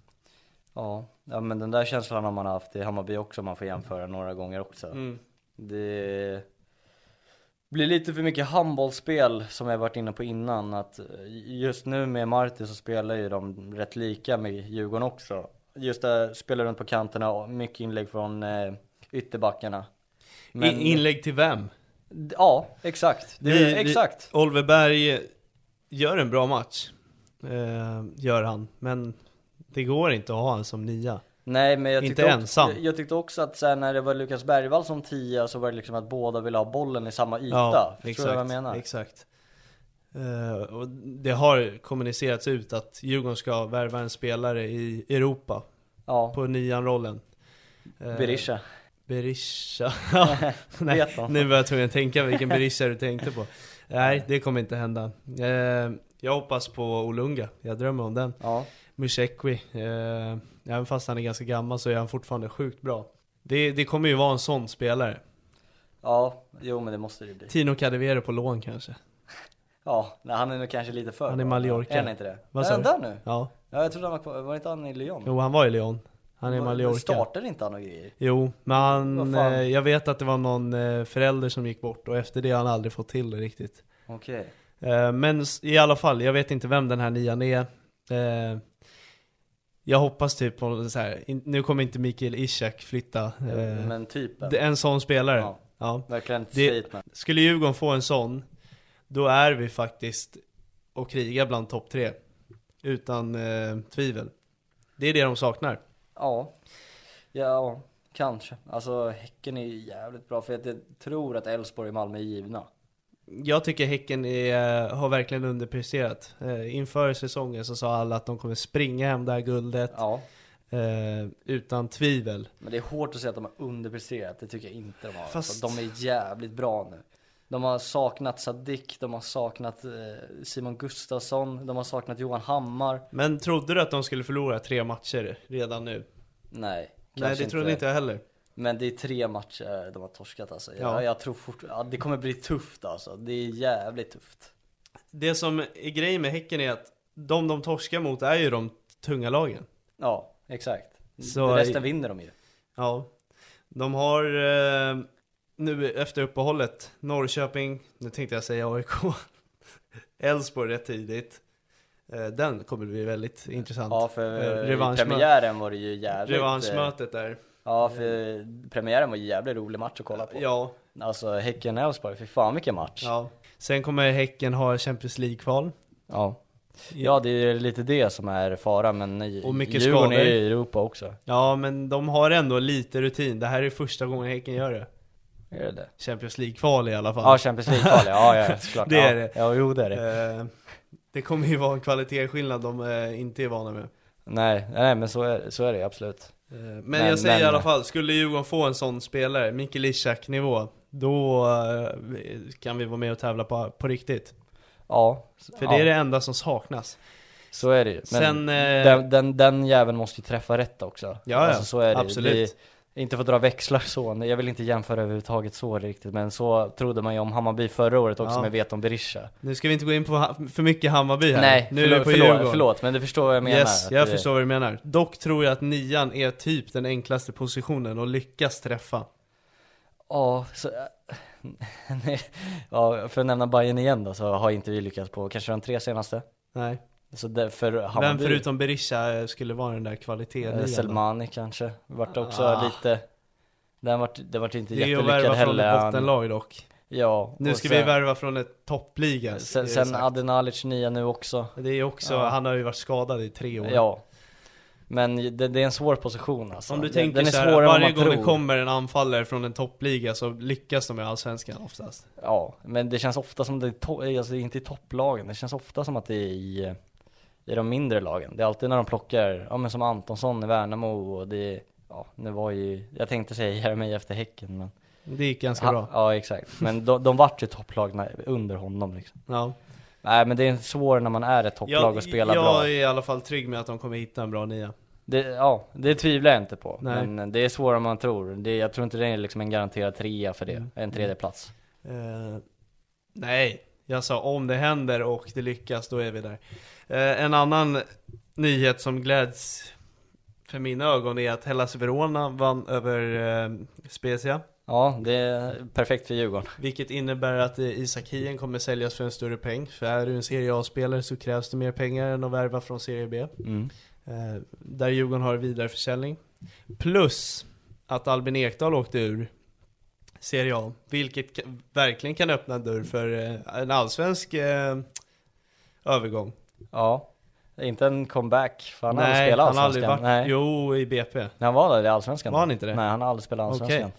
Speaker 3: Ja. ja, men den där känslan har man haft i Hammarby också om man får jämföra några gånger också.
Speaker 2: Mm.
Speaker 3: Det blir lite för mycket handbollsspel som jag varit inne på innan. Att just nu med Marti så spelar ju de rätt lika med Djurgården också. Just där spelar runt på kanterna och mycket inlägg från eh, ytterbackarna. Men-
Speaker 2: I, inlägg till vem?
Speaker 3: Ja, exakt. Det,
Speaker 2: Vi- vi-
Speaker 3: exakt.
Speaker 2: Oliver Berg gör en bra match. Eh, gör han. Men det går inte att ha han som nia.
Speaker 3: Nej, men jag
Speaker 2: Inte
Speaker 3: tyckte, också,
Speaker 2: ensam.
Speaker 3: Jag, jag tyckte också att sen när det var Lukas Bergvall som tia så var det liksom att båda ville ha bollen i samma yta. Förstår du vad jag menar?
Speaker 2: Exakt. Eh, och det har kommunicerats ut att Djurgården ska värva en spelare i Europa
Speaker 3: Ja,
Speaker 2: på nian-rollen. Eh,
Speaker 3: Berisha.
Speaker 2: Berisha. Ja, Nej,
Speaker 3: Vet man.
Speaker 2: nu var jag tvungen att tänka vilken Berisha du tänkte på. Nej, det kommer inte hända. Eh, jag hoppas på Olunga. Jag drömmer om den.
Speaker 3: Ja.
Speaker 2: Musekwi. Eh, även fast han är ganska gammal så är han fortfarande sjukt bra. Det, det kommer ju vara en sån spelare.
Speaker 3: ja, jo men det måste det bli.
Speaker 2: Tino Cadevere på lån kanske.
Speaker 3: Ja, nej, han är nog kanske lite för
Speaker 2: Han är
Speaker 3: bra.
Speaker 2: Mallorca.
Speaker 3: Är han inte det?
Speaker 2: Vad
Speaker 3: är
Speaker 2: sa
Speaker 3: han
Speaker 2: du?
Speaker 3: där nu?
Speaker 2: Ja.
Speaker 3: Ja, jag trodde han var kvar. Var inte han i Lyon?
Speaker 2: Jo, han var i Lyon. Han är i
Speaker 3: Var-
Speaker 2: Mallorca.
Speaker 3: Startade inte han och grejer?
Speaker 2: Jo, men
Speaker 3: Vad
Speaker 2: han,
Speaker 3: fan?
Speaker 2: eh, jag vet att det var någon eh, förälder som gick bort och efter det har han aldrig fått till det riktigt.
Speaker 3: Okej.
Speaker 2: Eh, Men s- i alla fall, jag vet inte vem den här nian är. Eh, Jag hoppas typ på så här, in- nu kommer inte Mikael Ishak flytta. Eh,
Speaker 3: Men typen.
Speaker 2: det är en sån spelare.
Speaker 3: Ja.
Speaker 2: Ja.
Speaker 3: Verkligen ett
Speaker 2: Det-
Speaker 3: statement.
Speaker 2: Skulle Djurgården få en sån, då är vi faktiskt och kriga bland topp tre. Utan eh, tvivel. Det är det de saknar.
Speaker 3: Ja. Ja, kanske. Alltså Häcken är ju jävligt bra för att jag tror att Elfsborg och Malmö är givna.
Speaker 2: Jag tycker Häcken är, eh, har verkligen underpresterat. Eh, inför säsongen så sa alla att de kommer springa hem det här guldet.
Speaker 3: Ja.
Speaker 2: Eh, utan tvivel.
Speaker 3: Men det är hårt att säga att de har underpresterat, det tycker jag inte de har.
Speaker 2: Fast-
Speaker 3: Alltså, de är jävligt bra nu. De har saknat Sadik, de har saknat eh, Simon Gustafsson, de har saknat Johan Hammar.
Speaker 2: Men trodde du att de skulle förlora tre matcher redan nu?
Speaker 3: Nej,
Speaker 2: Nej,
Speaker 3: kanske
Speaker 2: det trodde inte jag heller.
Speaker 3: Men det är tre matcher de har torskat alltså. Jag,
Speaker 2: Ja.
Speaker 3: jag tror fort, ja, det kommer bli tufft alltså. Det är jävligt tufft.
Speaker 2: Det som är grejen med Häcken är att de de torskar mot är ju de tunga lagen.
Speaker 3: Ja, exakt.
Speaker 2: Så-
Speaker 3: Resten vinner de ju.
Speaker 2: Ja. De har eh, nu efter uppehållet Norrköping, nu tänkte jag säga AIK, Elfsborg rätt tidigt. Eh, den kommer bli väldigt intressant.
Speaker 3: Ja, för
Speaker 2: Eh,
Speaker 3: i
Speaker 2: revanschmö-
Speaker 3: premiären var det ju jävligt... eh,
Speaker 2: Revanschmötet där.
Speaker 3: Ja, för premiären var en jävligt rolig match att kolla på.
Speaker 2: Ja,
Speaker 3: Alltså Häcken-Elfsborg, fy fan vilken match.
Speaker 2: ja. Sen kommer Häcken ha Champions League-kval.
Speaker 3: Ja. Ja, det är lite det som är faran, men i-
Speaker 2: Och mycket
Speaker 3: Djurgården
Speaker 2: skador.
Speaker 3: är ju i Europa också.
Speaker 2: Ja, men de har ändå lite rutin. Det här är första gången Häcken gör det.
Speaker 3: Är det det?
Speaker 2: Champions League-kval i alla fall.
Speaker 3: Ja, Champions League-kval, ja, ja, såklart.
Speaker 2: Det är
Speaker 3: ja.
Speaker 2: det.
Speaker 3: Ja, jo, det är det.
Speaker 2: Eh, det kommer ju vara en kvalitetsskillnad de eh, inte är vana med.
Speaker 3: Nej, nej, men så är, så är det absolut.
Speaker 2: Eh, men,
Speaker 3: Men-
Speaker 2: jag säger
Speaker 3: men-
Speaker 2: i alla fall, skulle Djurgården få en sån spelare, Mikael Ishak nivå, då eh, kan vi vara med och tävla på, på riktigt.
Speaker 3: Ja,
Speaker 2: För
Speaker 3: ja,
Speaker 2: det är det enda som saknas.
Speaker 3: så är det ju. Men
Speaker 2: Sen, eh,
Speaker 3: den, den, den jäveln måste ju träffa rätt också. Alltså,
Speaker 2: ja,
Speaker 3: så är det ju.
Speaker 2: absolut.
Speaker 3: Det, inte för att dra växlar så, nej, jag vill inte jämföra överhuvudtaget så riktigt, men så trodde man ju om Hammarby förra året också
Speaker 2: Ja.
Speaker 3: med Veton Berisha.
Speaker 2: Nu ska vi inte gå in på ha- för mycket Hammarby här.
Speaker 3: Nej,
Speaker 2: nu är
Speaker 3: förlåt,
Speaker 2: vi på
Speaker 3: förlåt,
Speaker 2: Djurgården.
Speaker 3: förlåt, men du förstår vad jag menar.
Speaker 2: Yes,
Speaker 3: att
Speaker 2: jag
Speaker 3: det-
Speaker 2: förstår vad du menar. Dock tror jag att nian är typ den enklaste positionen och lyckas träffa.
Speaker 3: Ja, så, nej, ja, för att nämna Bayern igen då så har inte vi lyckats på kanske de tre senaste.
Speaker 2: Nej.
Speaker 3: Så där, för
Speaker 2: Vem
Speaker 3: Hammarby,
Speaker 2: förutom Berisha eh, skulle vara den där kvaliteten? i
Speaker 3: eh,
Speaker 2: alla?
Speaker 3: Selmani kanske, vart också
Speaker 2: Ah.
Speaker 3: lite, den vart, den vart inte
Speaker 2: Det är ju att
Speaker 3: jättelyckad
Speaker 2: värva från
Speaker 3: heller.
Speaker 2: ett
Speaker 3: Han-
Speaker 2: bottenlag dock.
Speaker 3: Ja,
Speaker 2: Nu
Speaker 3: och
Speaker 2: ska
Speaker 3: sen,
Speaker 2: vi värva från ett toppliga.
Speaker 3: Sen,
Speaker 2: det är
Speaker 3: sen
Speaker 2: sagt.
Speaker 3: Adnan Alic nya nu också.
Speaker 2: det är också,
Speaker 3: Ja.
Speaker 2: han har ju varit skadad i tre år.
Speaker 3: Ja. Men det, det är en svår position alltså.
Speaker 2: Om du
Speaker 3: Den-
Speaker 2: tänker
Speaker 3: den är
Speaker 2: så här,
Speaker 3: svårare än vad
Speaker 2: varje
Speaker 3: man
Speaker 2: gång det
Speaker 3: tror.
Speaker 2: kommer en anfallare från en toppliga så lyckas de i Allsvenskan oftast.
Speaker 3: Ja, men det känns ofta som det är, to- alltså det är inte i topplagen, det känns ofta som att det är i, i de mindre lagen. Det är alltid när de plockar, ja men som Antonsson i Värnamo och det är ja, det var ju, jag tänkte säga Jeremejeff efter Häcken men
Speaker 2: Det gick ganska
Speaker 3: han,
Speaker 2: bra.
Speaker 3: Ja exakt, men de, de vart ju topplagna under honom liksom.
Speaker 2: Ja.
Speaker 3: Nej men det är svårt när man är ett topplag och spelar
Speaker 2: jag
Speaker 3: bra.
Speaker 2: är i alla fall trygg med att de kommer hitta en bra nia.
Speaker 3: Det, ja, det tvivlar jag inte på.
Speaker 2: Nej.
Speaker 3: Men det är svårare än man tror. Det, jag tror inte det är liksom en garanterad trea för
Speaker 2: Mm.
Speaker 3: det, en tredje plats.
Speaker 2: Eh, nej, jag sa om det händer och det lyckas, då är vi där. Eh, en annan nyhet som gläds för mina ögon är att Hellas Verona vann över eh, Spezia.
Speaker 3: Ja, det är perfekt för Djurgården.
Speaker 2: Vilket innebär att eh, Isak Hien kommer säljas för en större peng. För är du en Serie A-spelare så krävs det mer pengar än att värva från Serie B.
Speaker 3: Mm.
Speaker 2: Eh, där Djurgården har vidareförsäljning. Plus att Albin Ekdal åkte ur Serie A, vilket ka- verkligen kan öppna en
Speaker 3: Mm.
Speaker 2: dörr för eh, en allsvensk eh, övergång.
Speaker 3: Ja, Det är inte en comeback, för han har aldrig
Speaker 2: Nej,
Speaker 3: spelat
Speaker 2: han har aldrig
Speaker 3: allsvenskan.
Speaker 2: varit...
Speaker 3: Nej,
Speaker 2: Jo, i BP. Eh,
Speaker 3: När han var där i allsvenskan.
Speaker 2: Var han inte det? Eh,
Speaker 3: Nej, han har aldrig spelat allsvenskan.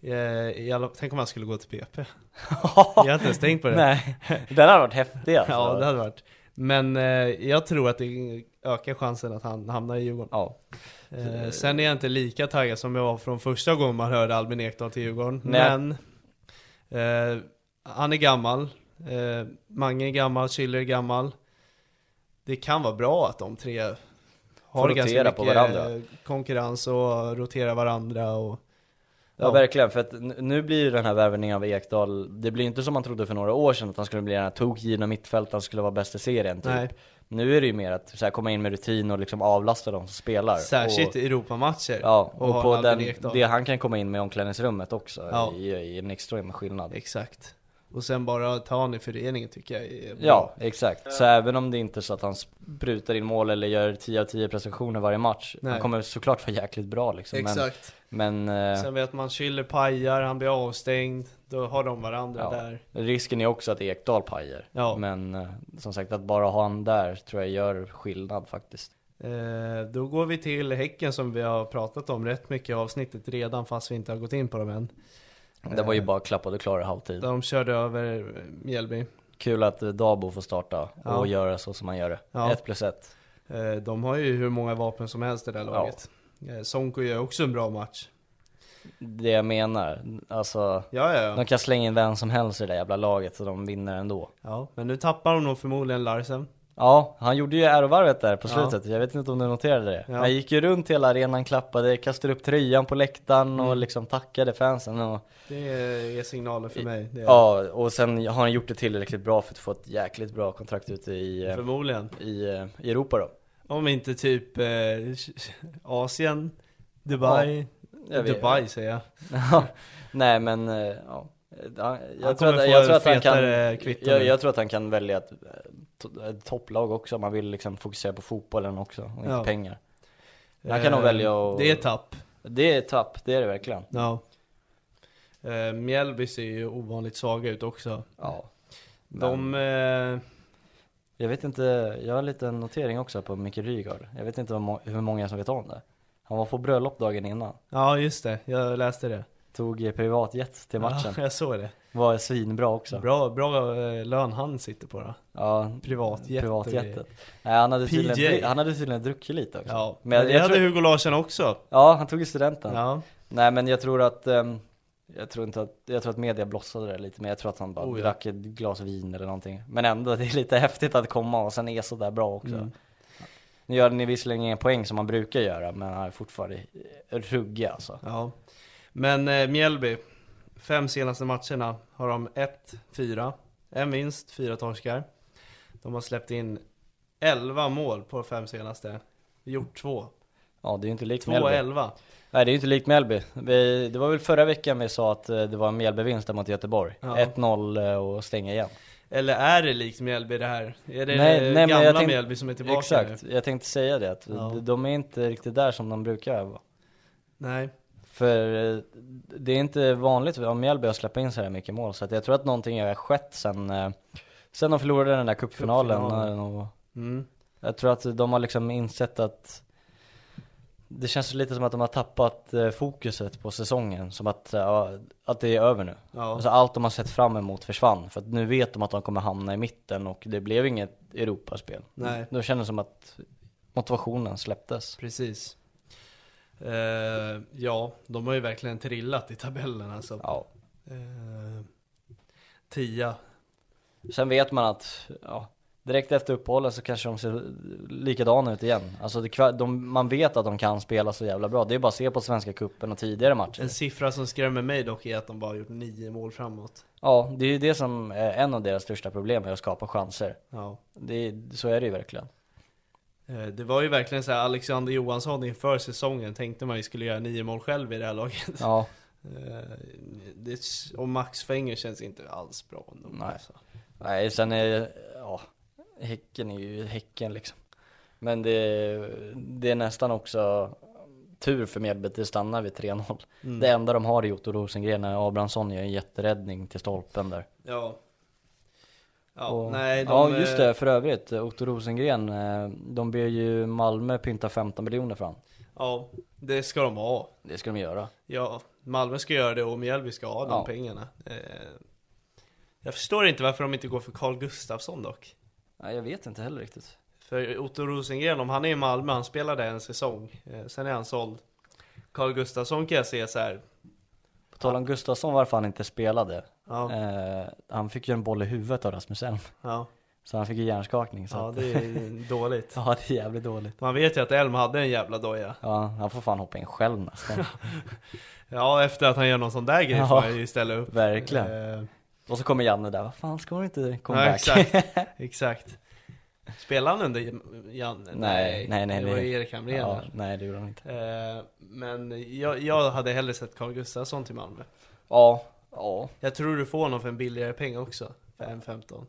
Speaker 2: i alla... Tänk om han skulle gå till BP. Jag har inte ens tänkt på det.
Speaker 3: Nej, det hade varit häftigt alltså.
Speaker 2: Ja, det hade varit. Men eh, jag tror att det ökar chansen att han hamnar i Djurgården.
Speaker 3: Ja.
Speaker 2: Eh, sen är jag inte lika taggad som jag var från första gången man hörde Albin Ekdal till Djurgården.
Speaker 3: Nej.
Speaker 2: Men eh, han är gammal. Eh, Mange är gammal, Schiller är gammal. Det kan vara bra att de tre har
Speaker 3: Får
Speaker 2: ganska
Speaker 3: rotera
Speaker 2: mycket
Speaker 3: på varandra.
Speaker 2: eh, konkurrens och rotera varandra. Och,
Speaker 3: Ja,
Speaker 2: Ja.
Speaker 3: verkligen, för att n- nu blir ju den här värvningen av Ekdal, det blir ju inte som man trodde för några år sedan att han skulle bli den här tokgivna mittfältaren, han skulle vara bäst i serien typ.
Speaker 2: Nej.
Speaker 3: Nu är det ju mer att så här, komma in med rutin och liksom avlasta de som spelar.
Speaker 2: särskilt
Speaker 3: och,
Speaker 2: i Europamatcher.
Speaker 3: Ja,
Speaker 2: och ha
Speaker 3: och
Speaker 2: en
Speaker 3: på
Speaker 2: Albin
Speaker 3: den,
Speaker 2: Ekdal.
Speaker 3: det han kan komma in med i omklädningsrummet också,
Speaker 2: Ja.
Speaker 3: i, i en extrem skillnad.
Speaker 2: Exakt. Och sen bara ta han i föreningen tycker jag är bra.
Speaker 3: Ja, exakt. Så även om det inte är så att han sprutar in mål eller gör 10 av 10 prestationer varje match,
Speaker 2: Nej.
Speaker 3: han kommer såklart vara jäkligt bra liksom.
Speaker 2: Exakt.
Speaker 3: Men, men eh,
Speaker 2: Sen vet man, Schiller pajar, han blir avstängd, då har de varandra
Speaker 3: Ja.
Speaker 2: där.
Speaker 3: Risken är också att Ekdal pajar.
Speaker 2: Ja.
Speaker 3: Men eh, som sagt, att bara ha han där tror jag gör skillnad faktiskt.
Speaker 2: Eh, då går vi till Häcken som vi har pratat om rätt mycket i avsnittet redan, fast vi inte har gått in på dem än.
Speaker 3: Det
Speaker 2: Eh.
Speaker 3: var ju bara klappade klara i halvtid.
Speaker 2: De körde över eh, Mjällby.
Speaker 3: Kul att eh, Dabo får starta
Speaker 2: Ja.
Speaker 3: och göra så som han gör det.
Speaker 2: Ja.
Speaker 3: Ett plus ett.
Speaker 2: Eh, de har ju hur många vapen som helst i det där
Speaker 3: Ja.
Speaker 2: laget. Eh, Sonko gör också en bra match.
Speaker 3: Det jag menar, alltså.
Speaker 2: Ja, ja, ja.
Speaker 3: De kan slänga in vem som helst i det där jävla laget så de vinner ändå.
Speaker 2: ja. Men nu tappar de nog förmodligen Larsen.
Speaker 3: Ja, han gjorde ju ärovarvet där på
Speaker 2: Ja.
Speaker 3: slutet. Jag vet inte om du noterade det.
Speaker 2: Ja.
Speaker 3: Han gick ju runt hela arenan, klappade, kastade upp tröjan på läktaren och
Speaker 2: Mm.
Speaker 3: liksom tackade fansen. Och...
Speaker 2: Det är signaler för mig. Det är,
Speaker 3: Ja, och sen har han gjort det tillräckligt bra för att få ett jäkligt bra kontrakt ute i, eh,
Speaker 2: Förmodligen.
Speaker 3: i, eh, i Europa då.
Speaker 2: Om inte typ eh, Asien, Dubai.
Speaker 3: Jag vet-
Speaker 2: Dubai säger jag.
Speaker 3: Nej men, eh, ja. Han-
Speaker 2: Han
Speaker 3: Jag tror,
Speaker 2: kommer
Speaker 3: att,
Speaker 2: få
Speaker 3: jag, tror att han kan,
Speaker 2: fetare kvitton
Speaker 3: jag,
Speaker 2: nu.
Speaker 3: jag tror att han kan välja ett, eh, to- ett topplag också om han vill liksom fokusera på fotbollen också och inte
Speaker 2: Ja.
Speaker 3: pengar. Han kan nog välja att-
Speaker 2: Eh, Det är tapp.
Speaker 3: Det är ett tapp, det är det verkligen.
Speaker 2: Ja. Eh, Mjällby ser ju ovanligt svaga ut också.
Speaker 3: Ja.
Speaker 2: De... Eh,
Speaker 3: Jag vet inte, jag har en liten notering också på Micke Rygaard. Jag vet inte hur må- hur många som vet om det. Han var på bröllop dagen innan.
Speaker 2: ja, just det. Jag läste det.
Speaker 3: Tog eh, privatjet till matchen.
Speaker 2: Ja, jag såg det.
Speaker 3: Var svinbra också.
Speaker 2: Bra, bra eh, lön han sitter på då.
Speaker 3: Ja,
Speaker 2: Privatjet.
Speaker 3: privatjetet. Nej, han, hade tydligen,
Speaker 2: PJ.
Speaker 3: han hade tydligen druckit lite också.
Speaker 2: Ja,
Speaker 3: men jag,
Speaker 2: det hade
Speaker 3: tror,
Speaker 2: Hugo Larsson också.
Speaker 3: ja han tog ju studenten.
Speaker 2: Ja.
Speaker 3: Nej men jag tror att, ehm, jag tror inte att, jag tror att media blossade det lite men jag tror att han bara
Speaker 2: Oh, ja.
Speaker 3: drack ett glas vin eller någonting. Men ändå, det är lite häftigt att komma och sen är sådär bra också.
Speaker 2: Mm.
Speaker 3: Nu gör ni visserligen ingen poäng som man brukar göra men han är fortfarande eh, ruggig alltså.
Speaker 2: ja. Men eh, Mjällby. Fem senaste matcherna har de 1-4. En vinst, fyra torskar. De har släppt in 11 mål på fem senaste. Gjort två.
Speaker 3: Ja det är ju inte likt Mjällby.
Speaker 2: 2-11.
Speaker 3: Nej det är ju inte likt Mjällby. Vi, det var väl förra veckan vi sa att eh, det var en Mjällby-vinst där mot Göteborg.
Speaker 2: Ja.
Speaker 3: 1-0 eh, och stänga igen.
Speaker 2: Eller är det likt Mjällby det här? Är det
Speaker 3: Nej, nej, men
Speaker 2: gamla
Speaker 3: jag tänk-
Speaker 2: Mjällby som är tillbaka
Speaker 3: Exakt,
Speaker 2: nu?
Speaker 3: jag tänkte säga det att
Speaker 2: Ja.
Speaker 3: de- de är inte riktigt där som de brukar vara.
Speaker 2: Nej.
Speaker 3: För eh, det är inte vanligt om Mjällby att släppa in så här mycket mål så att jag tror att någonting har skett sen, eh, sen de förlorade den där cupfinalen.
Speaker 2: Cupfinalen.
Speaker 3: Och
Speaker 2: Mm.
Speaker 3: jag tror att de har liksom insett att det känns lite som att de har tappat eh, fokuset på säsongen, som att, eh, ja, att det är över nu.
Speaker 2: Ja.
Speaker 3: Alltså allt de har sett fram emot försvann, för att nu vet de att de kommer hamna i mitten och det blev inget Europaspel.
Speaker 2: Nej.
Speaker 3: Då kändes det som att motivationen släpptes.
Speaker 2: Precis. Eh, ja, de har ju verkligen trillat i tabellen alltså.
Speaker 3: Ja.
Speaker 2: Eh, tia.
Speaker 3: Sen vet man att ja, direkt efter uppehållet så kanske de ser likadana ut igen. Alltså det, kva- de, man vet att de kan spela så jävla bra. Det är bara att se på Svenska Cupen och tidigare matcher.
Speaker 2: En siffra som skrämmer mig dock är att de bara gjort nio mål framåt.
Speaker 3: Ja, det är ju det som är en av deras största problem, är att skapa chanser.
Speaker 2: Ja.
Speaker 3: Det, så är det ju verkligen.
Speaker 2: Eh, Det var ju verkligen så här Alexander Johansson inför säsongen tänkte man ju skulle göra nio mål själv i det här laget.
Speaker 3: Ja,
Speaker 2: Eh, Det, och Max Fenger känns inte alls bra ändå.
Speaker 3: Nej.
Speaker 2: alltså.
Speaker 3: nej sen är ja, Häcken är ju Häcken liksom. Men det, det är nästan också tur för Mjällby att det stannar vid 3-0. Det enda de har är Otto Rosengren när Abrahamsson gör en jätteräddning till stolpen där.
Speaker 2: Ja. Ja,
Speaker 3: Och-
Speaker 2: nej, de,
Speaker 3: ja just
Speaker 2: eh,
Speaker 3: det, för övrigt, Otto Rosengren, eh, de ber ju Malmö pynta 15 miljoner för han.
Speaker 2: Ja, det ska de ha.
Speaker 3: Det ska de göra.
Speaker 2: Ja, Malmö ska göra det och Mjällby ska ha de
Speaker 3: Ja.
Speaker 2: pengarna. Eh, Jag förstår inte varför de inte går för Carl Gustafsson dock.
Speaker 3: Nej, jag vet inte heller riktigt.
Speaker 2: För Otto Rosengren, om han är i Malmö, han spelade en säsong. Eh, Sen är han såld. Carl Gustafsson kan jag se så här.
Speaker 3: På tal om Gustafsson, varför han inte spelade.
Speaker 2: Ja,
Speaker 3: Eh, han fick ju en boll i huvudet av Rasmus Elm,
Speaker 2: ja,
Speaker 3: så han fick ju hjärnskakning. Så
Speaker 2: ja
Speaker 3: att,
Speaker 2: det är dåligt.
Speaker 3: ja, det är jävligt dåligt.
Speaker 2: Man vet ju att Elm hade en jävla doja.
Speaker 3: Ja, han får fan hoppa in själv nästan.
Speaker 2: Ja, efter att han gör någon sån där grej får
Speaker 3: Ja.
Speaker 2: han ju ställa upp.
Speaker 3: Verkligen.
Speaker 2: Eh,
Speaker 3: Och så kommer Janne där, vad fan ska man inte komma
Speaker 2: ja,
Speaker 3: back?
Speaker 2: exakt, exakt. Spelade han under Janne?
Speaker 3: nej, nej, nej.
Speaker 2: Det var ju Erik Hamrén
Speaker 3: ja,
Speaker 2: där.
Speaker 3: Nej, det gjorde han inte.
Speaker 2: Eh, Men jag, jag hade hellre sett Carl Gustafsson till Malmö.
Speaker 3: Ja, ja,
Speaker 2: Jag tror du får honom för en billigare peng också. För 1,15.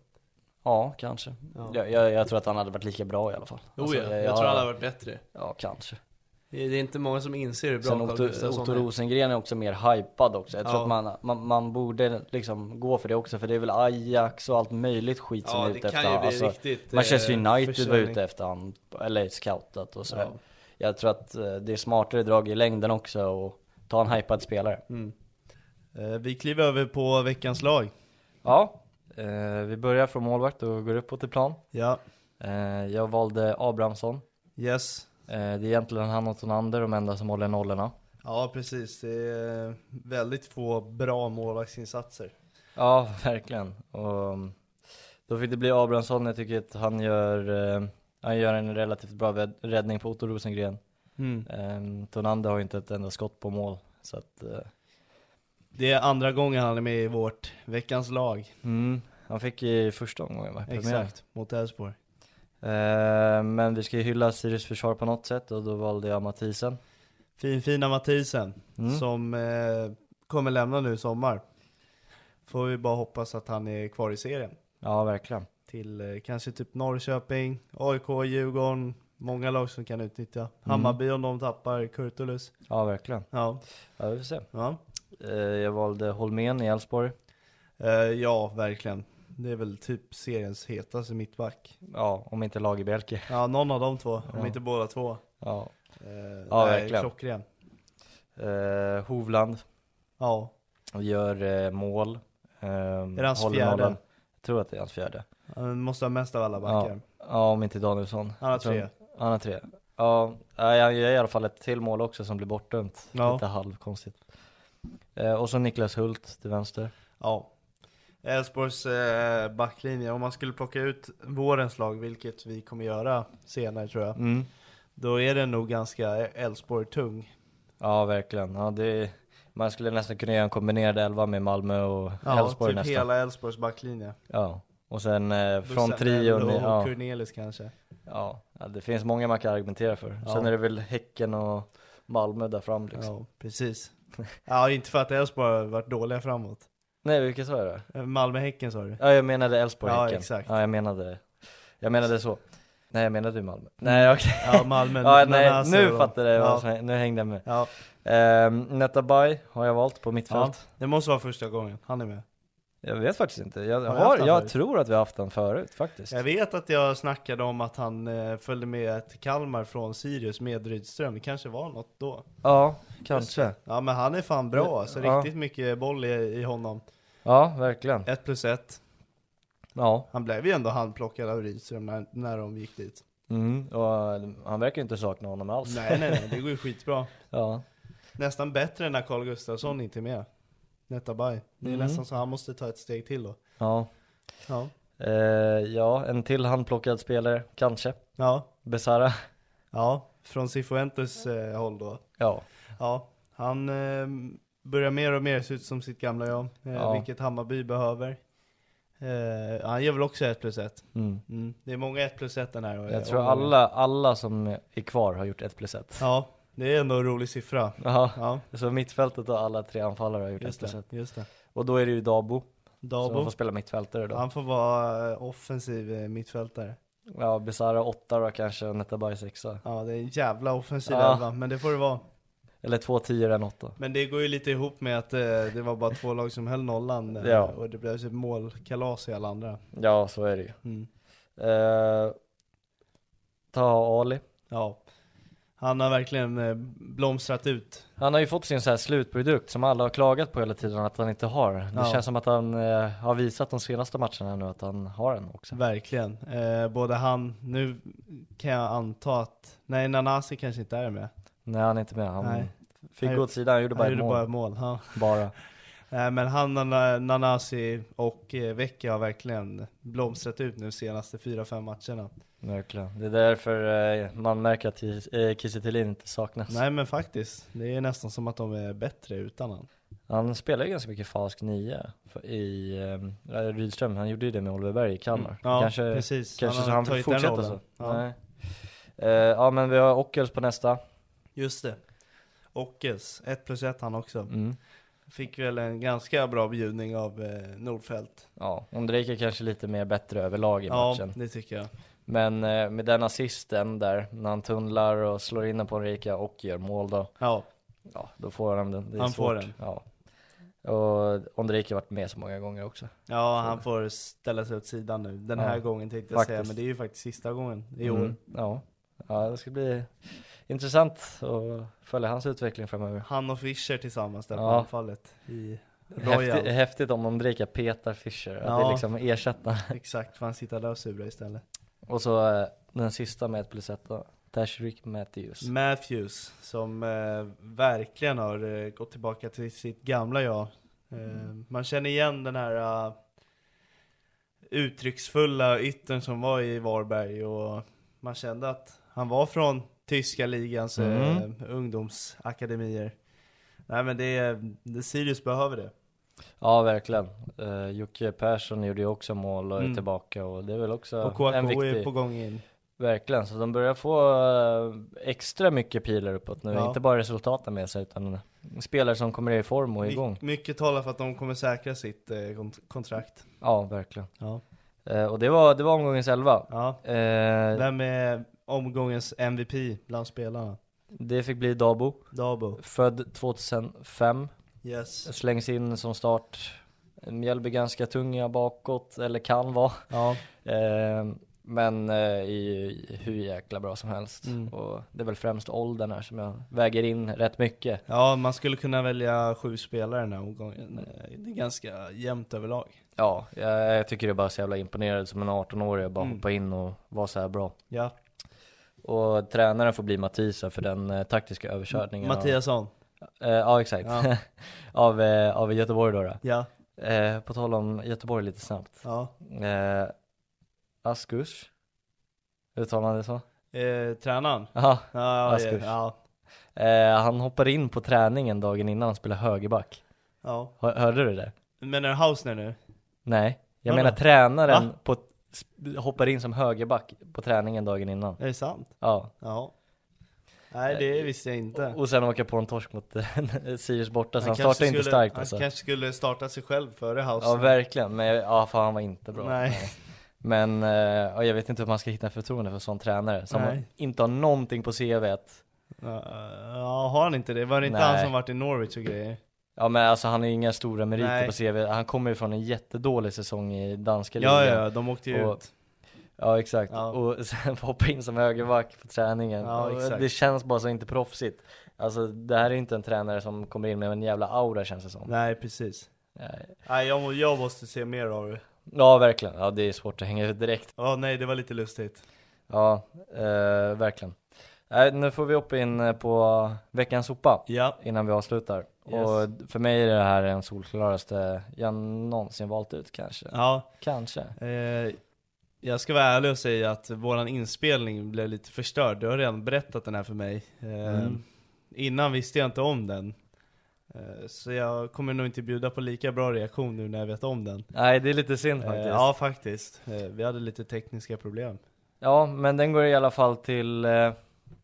Speaker 3: ja, kanske.
Speaker 2: Ja.
Speaker 3: Jag, jag, jag tror att han hade varit lika bra i alla fall.
Speaker 2: Jo,
Speaker 3: Alltså,
Speaker 2: Oh ja. jag tror han hade varit bättre.
Speaker 3: Ja, kanske.
Speaker 2: Det är inte många som inser hur bra
Speaker 3: Sen
Speaker 2: Carl
Speaker 3: Otto, Otto
Speaker 2: Gustafsson är.
Speaker 3: Rosengren är också mer hypad också. Jag tror
Speaker 2: Ja.
Speaker 3: att man, man, man borde liksom gå för det också, för det är väl Ajax och allt möjligt skit som
Speaker 2: Ja,
Speaker 3: är
Speaker 2: det
Speaker 3: ute
Speaker 2: kan
Speaker 3: efter
Speaker 2: ju
Speaker 3: han.
Speaker 2: bli
Speaker 3: Alltså,
Speaker 2: riktigt,
Speaker 3: Manchester
Speaker 2: eh,
Speaker 3: United var
Speaker 2: försäljning.
Speaker 3: ute efter han, eller scoutat och sådär.
Speaker 2: Ja.
Speaker 3: Jag tror att eh, det är smartare drag i längden också och ta en hypad spelare.
Speaker 2: Mm. Eh, Vi kliver över på veckans lag.
Speaker 3: Ja, eh, vi börjar från målvakt och går uppåt i plan.
Speaker 2: Ja,
Speaker 3: Eh, jag valde Abrahamsson.
Speaker 2: yes.
Speaker 3: Eh, det är egentligen han och Tonander de enda som håller nollorna.
Speaker 2: Ja, precis. Det är väldigt få bra målvaktsinsatser.
Speaker 3: Ja, verkligen. Och um, då fick det bli Abrahamsson. Jag tycker att han gör, eh, han gör en relativt bra väd- räddning på Otto Rosengren. Um, Tonander har ju inte ett enda skott på mål. Så att, eh,
Speaker 2: Det är andra gången han är med i vårt veckans lag.
Speaker 3: mm, han fick i första omgången va? Premiär.
Speaker 2: Exakt, mot Elfsborg.
Speaker 3: Eh, men vi ska ju hylla Sirius försvar på något sätt och då valde jag Mathisen.
Speaker 2: Fin, fina Mathisen,
Speaker 3: Mm.
Speaker 2: som eh, kommer lämna nu i sommar. Får vi bara hoppas att han är kvar i serien.
Speaker 3: Ja, verkligen.
Speaker 2: Till eh, kanske typ Norrköping, AIK, Djurgården. Många lag som kan
Speaker 3: Mm.
Speaker 2: utnyttja. Hammarby om de tappar Kurtulus.
Speaker 3: Ja, verkligen.
Speaker 2: Ja,
Speaker 3: Ja, vi får se.
Speaker 2: ja.
Speaker 3: Eh, jag valde Holmén i Elfsborg.
Speaker 2: Eh, ja, verkligen. Det är väl typ seriens hetaste mittback.
Speaker 3: Ja, om inte Lagerbielke.
Speaker 2: Ja, någon av de två, om
Speaker 3: Ja.
Speaker 2: inte båda två.
Speaker 3: Ja.
Speaker 2: Eh,
Speaker 3: Ja,
Speaker 2: nej,
Speaker 3: verkligen.
Speaker 2: Klockren.
Speaker 3: Eh, Hovland.
Speaker 2: Ja,
Speaker 3: och gör eh, mål. Ehm,
Speaker 2: Är det hans
Speaker 3: håller
Speaker 2: fjärde?
Speaker 3: nollan. Jag tror att det är hans fjärde.
Speaker 2: han måste ha mest av alla
Speaker 3: Ja,
Speaker 2: backar.
Speaker 3: ja, om inte Danielsson.
Speaker 2: Han har
Speaker 3: Jag tror-
Speaker 2: tre.
Speaker 3: Han har tre. Ja, nej, han gör i alla fall ett till mål också som blir bortdömt.
Speaker 2: Ja.
Speaker 3: Lite halvkonstigt. Eh, och så Niklas Hult till vänster.
Speaker 2: Ja. Elfsborgs eh, backlinje, om man skulle plocka ut vårens lag, vilket vi kommer göra senare tror jag,
Speaker 3: Mm.
Speaker 2: då är den nog ganska Elfsborg-tung.
Speaker 3: Ja, verkligen. Ja, det är, man skulle nästan kunna göra en kombinerad elva med Malmö och
Speaker 2: Ja,
Speaker 3: Elfsborg
Speaker 2: typ
Speaker 3: nästan.
Speaker 2: hela Elfsborgs backlinje.
Speaker 3: Ja. Och sen eh, från
Speaker 2: Bussen,
Speaker 3: trion.
Speaker 2: Ello
Speaker 3: i-
Speaker 2: och
Speaker 3: Ja,
Speaker 2: Cornelis kanske.
Speaker 3: ja, ja, det finns många man kan argumentera för.
Speaker 2: Ja.
Speaker 3: Sen är det väl Häcken och Malmö där fram liksom.
Speaker 2: Ja, precis. Ja, inte för att Elfsborg har varit dåliga framåt.
Speaker 3: Nej, vilka sa jag då?
Speaker 2: Eh, Malmö-Häcken sa du?
Speaker 3: Ja jag menade Elfsborg
Speaker 2: Ja,
Speaker 3: Häcken.
Speaker 2: exakt.
Speaker 3: Ja jag menade Jag menade så Nej jag menade ju
Speaker 2: Mm.
Speaker 3: Malmö Nej okej
Speaker 2: Ja, Malmö.
Speaker 3: ja, nej,
Speaker 2: Nanasi och
Speaker 3: Nu
Speaker 2: de.
Speaker 3: fattar jag
Speaker 2: alltså, Ja.
Speaker 3: vad som, Nu hängde jag med
Speaker 2: Ja,
Speaker 3: um, Netabay har jag valt på
Speaker 2: ja,
Speaker 3: mittfält
Speaker 2: det måste vara första gången han är med.
Speaker 3: Jag vet faktiskt inte Jag,
Speaker 2: Har vi
Speaker 3: har,
Speaker 2: haft han
Speaker 3: jag
Speaker 2: förut?
Speaker 3: tror att vi har haft den förut faktiskt
Speaker 2: Jag vet att jag snackade om att han eh, följde med till Kalmar från Sirius med Rydström, det kanske var något då.
Speaker 3: Ja kanske
Speaker 2: Ja men han är fan bra alltså,
Speaker 3: Ja.
Speaker 2: riktigt mycket boll i, i honom.
Speaker 3: Ja verkligen
Speaker 2: Ett plus ett.
Speaker 3: Ja
Speaker 2: Han blev ju ändå handplockad av Rydström när, när de gick dit.
Speaker 3: Mm. Och eh, han verkar ju inte sakna honom alls.
Speaker 2: Nej, nej, nej, det går ju skitbra.
Speaker 3: Ja.
Speaker 2: Nästan bättre än när Carl Gustafsson inte är med. Netabay. Det är
Speaker 3: Mm.
Speaker 2: nästan så han måste ta ett steg till då.
Speaker 3: Ja.
Speaker 2: Ja.
Speaker 3: Eh, ja, en till handplockad spelare, kanske.
Speaker 2: Ja.
Speaker 3: Besara.
Speaker 2: Ja. Från Cifuentes eh, håll då.
Speaker 3: Ja.
Speaker 2: Ja. Han eh, börjar mer och mer se ut som sitt gamla jag. Eh,
Speaker 3: Ja.
Speaker 2: Vilket Hammarby behöver. Eh, han gör väl också 1 plus 1.
Speaker 3: Mm.
Speaker 2: Mm. Det är många 1 plus 1 den här eh,
Speaker 3: Jag tror
Speaker 2: omgången.
Speaker 3: alla, alla som är kvar har gjort ett plus ett.
Speaker 2: Ja, det är ändå en rolig siffra.
Speaker 3: Ja.
Speaker 2: Ja,
Speaker 3: Så mittfältet och alla tre anfallare har gjort ett
Speaker 2: just
Speaker 3: plus
Speaker 2: det.
Speaker 3: ett.
Speaker 2: Just det.
Speaker 3: Och då är det ju Dabo, som
Speaker 2: Dabo,
Speaker 3: får spela mittfältare då.
Speaker 2: han får vara eh, offensiv eh, mittfältare.
Speaker 3: Ja, Besara åtta då kanske, och Netabay sexa.
Speaker 2: Ja, det är en jävla offensiv
Speaker 3: Ja.
Speaker 2: elva, men det får det vara.
Speaker 3: Eller två tior, en åtta.
Speaker 2: Men det går ju lite ihop med att eh, det var bara två lag som höll nollan eh,
Speaker 3: Ja.
Speaker 2: och det blev så ett målkalas i alla andra.
Speaker 3: Ja, så är det ju.
Speaker 2: Mm.
Speaker 3: Eh, Taha Ali.
Speaker 2: Ja, han har verkligen eh, blomstrat ut.
Speaker 3: Han har ju fått sin så här slutprodukt som alla har klagat på hela tiden att han inte har. Det
Speaker 2: Ja.
Speaker 3: känns som att han eh, har visat de senaste matcherna nu att han har en också.
Speaker 2: Verkligen. Eh, både han, nu kan jag anta att, nej Nanasi kanske inte är med.
Speaker 3: Nej, han är inte med. Han
Speaker 2: Nej.
Speaker 3: fick
Speaker 2: Han
Speaker 3: gå
Speaker 2: gjorde-
Speaker 3: åt sidan, han gjorde bara
Speaker 2: Han
Speaker 3: ett
Speaker 2: gjorde
Speaker 3: mål.
Speaker 2: bara ett mål. Ja.
Speaker 3: Bara.
Speaker 2: Nej men han, Nana- Nanasi och eh, Vecchia har verkligen blomstrat ut nu senaste 4-5 matcherna.
Speaker 3: Verkligen. Det är därför eh, man märker att Kis- eh, Kiese Thelin inte saknas.
Speaker 2: Nej men faktiskt, det är nästan som att de är bättre utan han.
Speaker 3: Han spelar ju ganska mycket falsk nio för- i eh, Rydström. Han gjorde ju det med Oliver Berg i Kalmar.
Speaker 2: Mm. Ja
Speaker 3: kanske,
Speaker 2: precis,
Speaker 3: kanske så han vill
Speaker 2: tagit den
Speaker 3: fortsätta så.
Speaker 2: rollen. Ja.
Speaker 3: Nej. Eh, ja men vi har Ockels på nästa.
Speaker 2: Just det. Ockels, 1 plus 1 han också.
Speaker 3: Mm.
Speaker 2: Fick väl en ganska bra bjudning av eh, Nordfeldt.
Speaker 3: Ja, Ondrejka kanske lite mer bättre överlag i
Speaker 2: Ja,
Speaker 3: matchen.
Speaker 2: det tycker jag.
Speaker 3: Men eh, med den assisten där, när han tunnlar och slår in den på Ulrika och gör mål då,
Speaker 2: Ja,
Speaker 3: ja då får han den. Det är
Speaker 2: Han
Speaker 3: svårt.
Speaker 2: får den.
Speaker 3: Ja. Och Ondrejka har varit med så många gånger också.
Speaker 2: ja han får ställa sig åt sidan nu. Den
Speaker 3: Ja,
Speaker 2: här gången tänkte jag
Speaker 3: faktiskt.
Speaker 2: säga, men det är ju faktiskt sista gången i år.
Speaker 3: Mm, Ja. ja, det ska bli intressant att följa hans utveckling framöver.
Speaker 2: Han och Fischer tillsammans där på
Speaker 3: Ja.
Speaker 2: anfallet i Royal.
Speaker 3: Häftigt, häftigt om Ondrejka petar Fischer, att det
Speaker 2: Ja.
Speaker 3: är liksom ersätta.
Speaker 2: Exakt, för han sitter där och surar istället.
Speaker 3: Och så eh, den sista med ett plus ett då, Tashrik Matthews.
Speaker 2: Mm. Matthews, som eh, verkligen har eh, gått tillbaka till sitt gamla jag. Eh,
Speaker 3: Mm.
Speaker 2: man känner igen den här eh, uttrycksfulla yttern som var i Varberg och man kände att han var från tyska ligans eh,
Speaker 3: Mm.
Speaker 2: ungdomsakademier. Nej men det, är- det Sirius behöver det.
Speaker 3: Ja, verkligen. Uh, Jocke Persson gjorde ju också mål och är
Speaker 2: Mm.
Speaker 3: tillbaka och det är väl också
Speaker 2: och KK
Speaker 3: en
Speaker 2: är
Speaker 3: viktig...
Speaker 2: på gång in.
Speaker 3: Verkligen, så de börjar få eh, extra mycket pilar uppåt nu.
Speaker 2: Ja.
Speaker 3: Inte bara resultaten med sig utan spelare som kommer i form och igång.
Speaker 2: My- mycket talar för att de kommer säkra sitt eh, kont- kontrakt.
Speaker 3: Ja, verkligen.
Speaker 2: Ja.
Speaker 3: Eh, och det var, det var omgångens elva.
Speaker 2: ja.
Speaker 3: Eh,
Speaker 2: Vem är omgångens MVP bland spelarna?
Speaker 3: det fick bli Dabo,
Speaker 2: Dabo.
Speaker 3: född 2005.
Speaker 2: Yes.
Speaker 3: Slängs in som start. Mjällby ganska tunga bakåt, eller kan vara.
Speaker 2: Ja,
Speaker 3: Eh, men eh, är ju hur jäkla bra som helst.
Speaker 2: Mm.
Speaker 3: Och det är väl främst åldern här som jag väger in rätt mycket.
Speaker 2: ja, man skulle kunna välja sju spelare den här omgången. Eh, Det är ganska jämnt överlag.
Speaker 3: Ja, jag, jag tycker det är bara så jävla imponerande som en 18-årig att bara
Speaker 2: Mm.
Speaker 3: hoppa in och vara så här bra.
Speaker 2: Ja.
Speaker 3: Och tränaren får bli Mathisen för den eh, taktiska överkörningen.
Speaker 2: Mattiasson.
Speaker 3: Av, eh, ja, exakt.
Speaker 2: Ja.
Speaker 3: av, eh, av Göteborg då. då.
Speaker 2: Ja,
Speaker 3: Eh, på tal om Göteborg lite snabbt.
Speaker 2: ja.
Speaker 3: Eh, Askus? Uttalar man det så?
Speaker 2: Eh, tränaren.
Speaker 3: Ja,
Speaker 2: Ja, ja,
Speaker 3: Askers.
Speaker 2: ja,
Speaker 3: eh, han hoppar in på träningen dagen innan han spelar högerback.
Speaker 2: ja.
Speaker 3: Hör- Hörde du det?
Speaker 2: Men är det Hausner nu?
Speaker 3: Nej, jag
Speaker 2: Vadå?
Speaker 3: menar tränaren på, sp- hoppar in som högerback på träningen dagen innan.
Speaker 2: Är det sant?
Speaker 3: Ja.
Speaker 2: Ja. Nej, det visste jag inte.
Speaker 3: Och sen åka på en torsk mot eh, Sirius borta, så han,
Speaker 2: kanske
Speaker 3: startar inte
Speaker 2: skulle-
Speaker 3: starkt
Speaker 2: Han
Speaker 3: alltså.
Speaker 2: kanske skulle starta sig själv före
Speaker 3: Ja
Speaker 2: Hausner.
Speaker 3: verkligen, men jag, ja, fan han var inte bra.
Speaker 2: Nej.
Speaker 3: Men eh, ja, jag vet inte hur man ska hitta förtroende för en sån tränare som
Speaker 2: Nej.
Speaker 3: inte har någonting på CVt.
Speaker 2: Ja, ja, har han inte det? Var det inte
Speaker 3: Nej.
Speaker 2: han som varit i Norwich och grejer?
Speaker 3: Ja men alltså han har ju inga stora meriter
Speaker 2: Nej.
Speaker 3: på CV. Han kommer ju från en jättedålig säsong i danska
Speaker 2: Ja, ja, ja, de åkte ju
Speaker 3: Och-
Speaker 2: ut.
Speaker 3: Ja exakt,
Speaker 2: Ja.
Speaker 3: och sen få hoppa in som högerback på träningen.
Speaker 2: Ja,
Speaker 3: Och
Speaker 2: exakt.
Speaker 3: Det känns bara så inte proffsigt. Alltså det här är inte en tränare som kommer in med en jävla aura känns det som.
Speaker 2: Nej, precis.
Speaker 3: Nej.
Speaker 2: Nej, jag, må- jag måste se mer av det.
Speaker 3: Ja verkligen, ja det är svårt att hänga ut direkt.
Speaker 2: Ja, nej, det var lite lustigt.
Speaker 3: Ja, eh, verkligen. Nej, nu får vi upp in eh, på veckans sopa
Speaker 2: Ja.
Speaker 3: innan vi avslutar.
Speaker 2: Yes.
Speaker 3: Och för mig är det här den solklaraste jag någonsin valt ut kanske.
Speaker 2: Ja,
Speaker 3: Kanske.
Speaker 2: eh, jag ska vara ärlig och säga att våran inspelning blev lite förstörd. Du har redan berättat den här för mig. Eh,
Speaker 3: Mm.
Speaker 2: Innan visste jag inte om den. Eh, så jag kommer nog inte bjuda på lika bra reaktion nu när jag vet om den.
Speaker 3: Nej, det är lite synd
Speaker 2: Eh,
Speaker 3: faktiskt.
Speaker 2: ja, faktiskt. Eh, vi hade lite tekniska problem.
Speaker 3: Ja, men den går i alla fall till eh,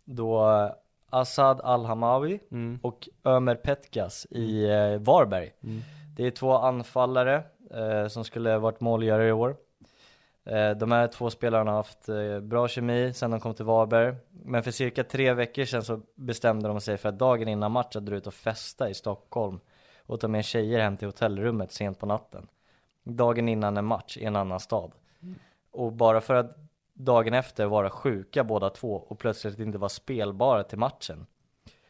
Speaker 3: då eh, Assad Al-Hamawi
Speaker 2: Mm.
Speaker 3: och Ömer Petkas i eh, Varberg. Det är två anfallare eh, som skulle varit målgörare i år. Eh, de här två spelarna har haft eh, bra kemi sedan de kom till Varberg. Men för cirka tre veckor sedan så bestämde de sig för att dagen innan matchen dra ut och festa i Stockholm och ta med tjejer hem till hotellrummet sent på natten. Dagen innan en match i en annan stad. Och bara för att dagen efter vara sjuka båda två och plötsligt inte vara spelbara till matchen.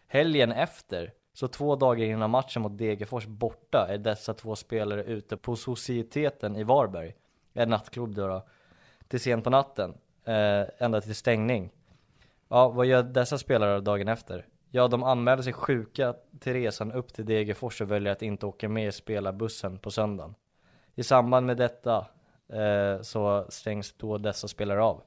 Speaker 3: Helgen efter, så två dagar innan matchen mot Degerfors borta, är dessa två spelare ute på Societeten i Varberg, en nattklubb då, då till sent på natten, eh, ända till stängning. Ja, vad gör dessa spelare dagen efter? Ja, de anmäler sig sjuka till resan upp till Degerfors och väljer att inte åka med i spelarbussen på söndagen. I samband med detta eh, så stängs då dessa spelare av.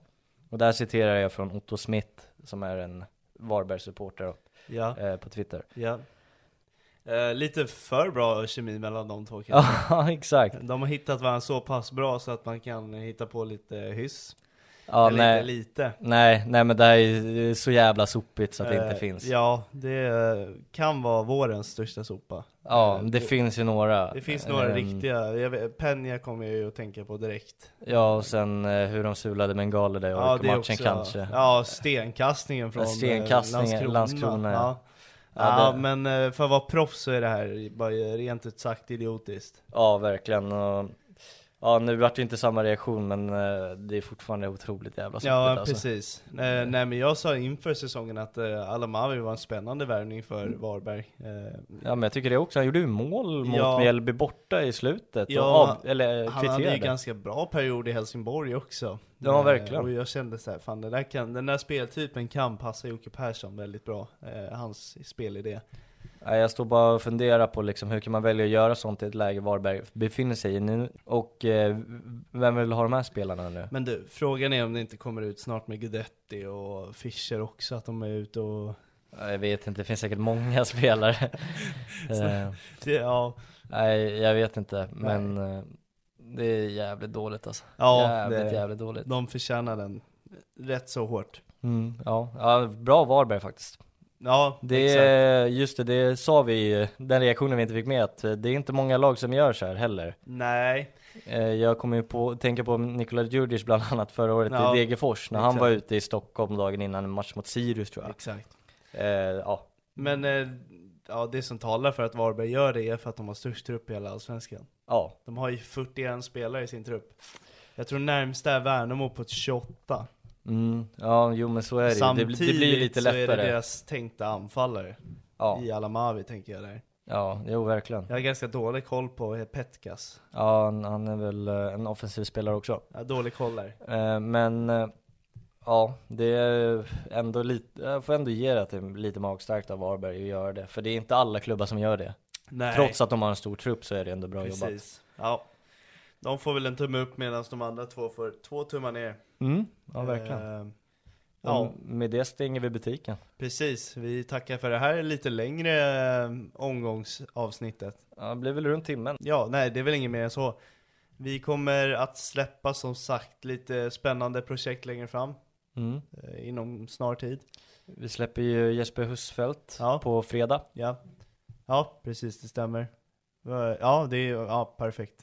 Speaker 3: Och där citerar jag från Otto Smith som är en Varberg-supporter
Speaker 2: Ja,
Speaker 3: eh, på Twitter.
Speaker 2: ja. Eh, lite för bra kemi mellan de två kanske.
Speaker 3: Ja, exakt.
Speaker 2: De har hittat varandra så pass bra så att man kan hitta på lite hyss.
Speaker 3: Ja,
Speaker 2: Eller inte
Speaker 3: nej,
Speaker 2: lite.
Speaker 3: nej, nej, men det här är ju så jävla sopigt så att det
Speaker 2: Eh,
Speaker 3: inte finns. Ja,
Speaker 2: Ja, det eh, kan vara vårens största sopa. Eh,
Speaker 3: det finns ju några.
Speaker 2: det finns några
Speaker 3: Ehm,
Speaker 2: riktiga, jag vet, Penja kommer jag ju att tänka på direkt.
Speaker 3: Ja, och sen eh, hur de sulade bengaler där i ja, matchen kanske.
Speaker 2: Ja, stenkastningen från eh,
Speaker 3: Stenkastningen, Landskrona,
Speaker 2: ja.
Speaker 3: ja.
Speaker 2: Ja,
Speaker 3: Ja, det-
Speaker 2: men eh, för att vara proffs så är det här bara rent ut sagt idiotiskt.
Speaker 3: Ja, verkligen. Och, ja, nu vart det inte samma reaktion, men eh, det är fortfarande otroligt jävla sopigt
Speaker 2: Ja,
Speaker 3: alltså.
Speaker 2: precis. Eh, nej men jag sa inför säsongen att eh, Alamavi var en spännande värvning för
Speaker 3: Mm.
Speaker 2: Varberg. Eh,
Speaker 3: Ja men jag tycker det också, han gjorde ju mål mot
Speaker 2: Ja.
Speaker 3: Mjällby borta i slutet
Speaker 2: Ja,
Speaker 3: och av, eller eh,
Speaker 2: han hade ju
Speaker 3: kvitterade.
Speaker 2: ganska bra period i Helsingborg också.
Speaker 3: Ja,
Speaker 2: Eh,
Speaker 3: verkligen.
Speaker 2: Och jag kände så här, fan den där, kan, den där speltypen kan passa Jocke Persson väldigt bra. Eh, hans spelidé.
Speaker 3: Ja, jag står bara och funderar på liksom, hur kan man välja att göra sånt i ett läge Varberg befinner sig i nu och eh, vem vill ha de här spelarna nu?
Speaker 2: Men du, frågan är om det inte kommer ut snart med Guidetti och Fischer också, att de är ute och...
Speaker 3: Ja, Jag vet inte, det finns säkert många spelare. Eh,
Speaker 2: Det, ja,
Speaker 3: Nej jag vet inte men eh, det är jävligt dåligt alltså.
Speaker 2: Ja,
Speaker 3: jävligt
Speaker 2: det-
Speaker 3: jävligt dåligt.
Speaker 2: de förtjänar den rätt så hårt.
Speaker 3: Mm, ja. ja, bra Varberg faktiskt.
Speaker 2: Ja,
Speaker 3: Det
Speaker 2: exakt.
Speaker 3: är, just det, det sa vi ju, den reaktionen vi inte fick med, att det är inte många lag som gör så här heller.
Speaker 2: Nej,
Speaker 3: Eh, Jag kommer ju på, tänka på Nikola Djurdjic bland annat förra året
Speaker 2: Ja,
Speaker 3: i Degerfors, när
Speaker 2: exakt.
Speaker 3: han var ute i Stockholm dagen innan en match mot Sirius tror jag.
Speaker 2: exakt.
Speaker 3: Eh, ja.
Speaker 2: Men eh, ja, det som talar för att Varberg gör det är för att de har störst trupp i hela Allsvenskan.
Speaker 3: ja,
Speaker 2: De har ju 41 spelare i sin trupp. Jag tror närmsta är Värnamo på ett 28.
Speaker 3: mm, ja, jo men så är det ju. Det, blir-
Speaker 2: Samtidigt
Speaker 3: det blir lite lättare.
Speaker 2: så är det deras tänkta anfallare
Speaker 3: ja,
Speaker 2: i Alamavi tänker jag där.
Speaker 3: ja, jo verkligen.
Speaker 2: Jag har ganska dålig koll på Petkas.
Speaker 3: Ja, han- han är väl eh, en offensiv spelare också.
Speaker 2: Jag har dålig koll där.
Speaker 3: Eh, Men eh, ja, det är ändå lite, jag får ändå ge det att det är lite magstarkt av Varberg att göra det. För det är inte alla klubbar som gör det.
Speaker 2: Nej,
Speaker 3: Trots att de har en stor trupp så är det ändå bra jobbat.
Speaker 2: precis. Ja. De får väl en tumme upp medan de andra två får två tummar ner.
Speaker 3: Mm, ja, verkligen.
Speaker 2: Ehm,
Speaker 3: Ja.
Speaker 2: ja,
Speaker 3: Med det stänger vi butiken.
Speaker 2: precis. Vi tackar för det här lite längre eh, omgångsavsnittet.
Speaker 3: Ja, det blir väl runt timmen.
Speaker 2: Ja, nej det är väl inget mer än så. Vi kommer att släppa som sagt lite spännande projekt längre fram
Speaker 3: Mm.
Speaker 2: eh, inom snar tid.
Speaker 3: Vi släpper ju Jesper Husfeldt
Speaker 2: Ja.
Speaker 3: på fredag.
Speaker 2: Ja, ja precis det stämmer. Eh, Ja, det är ja, perfekt.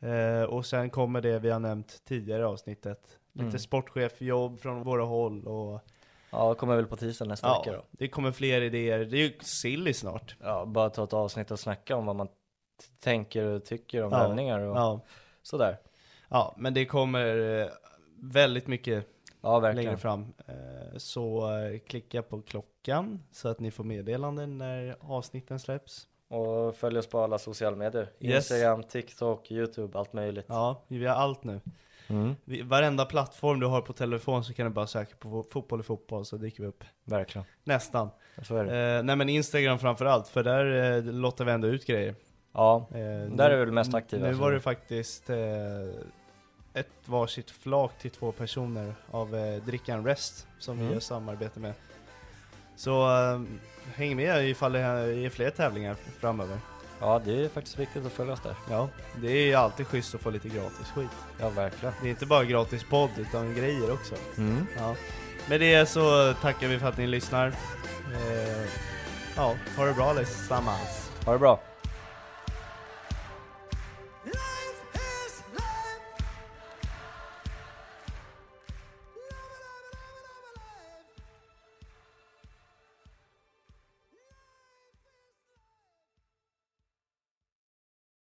Speaker 2: Eh, och sen kommer det vi har nämnt tidigare i avsnittet. Lite
Speaker 3: Mm.
Speaker 2: sportchefjobb från våra håll och
Speaker 3: Ja, kommer väl på tisdag nästa vecka
Speaker 2: ja,
Speaker 3: då.
Speaker 2: det kommer fler idéer. Det är ju silly snart.
Speaker 3: Ja, bara ta ett avsnitt och snacka om vad man t- tänker och tycker om
Speaker 2: Ja.
Speaker 3: värvningar och
Speaker 2: Ja.
Speaker 3: sådär.
Speaker 2: ja, men det kommer eh, väldigt mycket
Speaker 3: Ja,
Speaker 2: längre
Speaker 3: verkligen.
Speaker 2: fram. Eh, Så eh, klicka på klockan så att ni får meddelanden när avsnitten släpps.
Speaker 3: Och följ oss på alla sociala medier.
Speaker 2: Yes.
Speaker 3: Instagram, TikTok, YouTube, allt möjligt.
Speaker 2: Ja, vi har allt nu.
Speaker 3: Mm.
Speaker 2: Vi- Varenda plattform du har på telefon så kan du bara söka på fo- fotboll i fotboll så dyker vi upp.
Speaker 3: Verkligen.
Speaker 2: Nästan.
Speaker 3: Så är det.
Speaker 2: Eh, nej men Instagram framförallt, för där eh, låter vi ändå ut grejer.
Speaker 3: Ja,
Speaker 2: Eh,
Speaker 3: där är vi väl mest aktiva.
Speaker 2: Nu
Speaker 3: så-
Speaker 2: var det faktiskt eh, ett varsitt flak till två personer av eh, Drickan Rest som vi
Speaker 3: Mm.
Speaker 2: gör samarbete med. Så eh, häng med ifall det är fler tävlingar framöver.
Speaker 3: Ja, det är faktiskt viktigt att följa oss där.
Speaker 2: Ja, det är ju alltid schysst att få lite gratis skit.
Speaker 3: Ja, verkligen.
Speaker 2: Det är inte bara gratis podd utan grejer också.
Speaker 3: Mm.
Speaker 2: Ja. Med det så tackar vi för att ni lyssnar. Eh, ja, ha det bra allesammans.
Speaker 3: Ha det bra.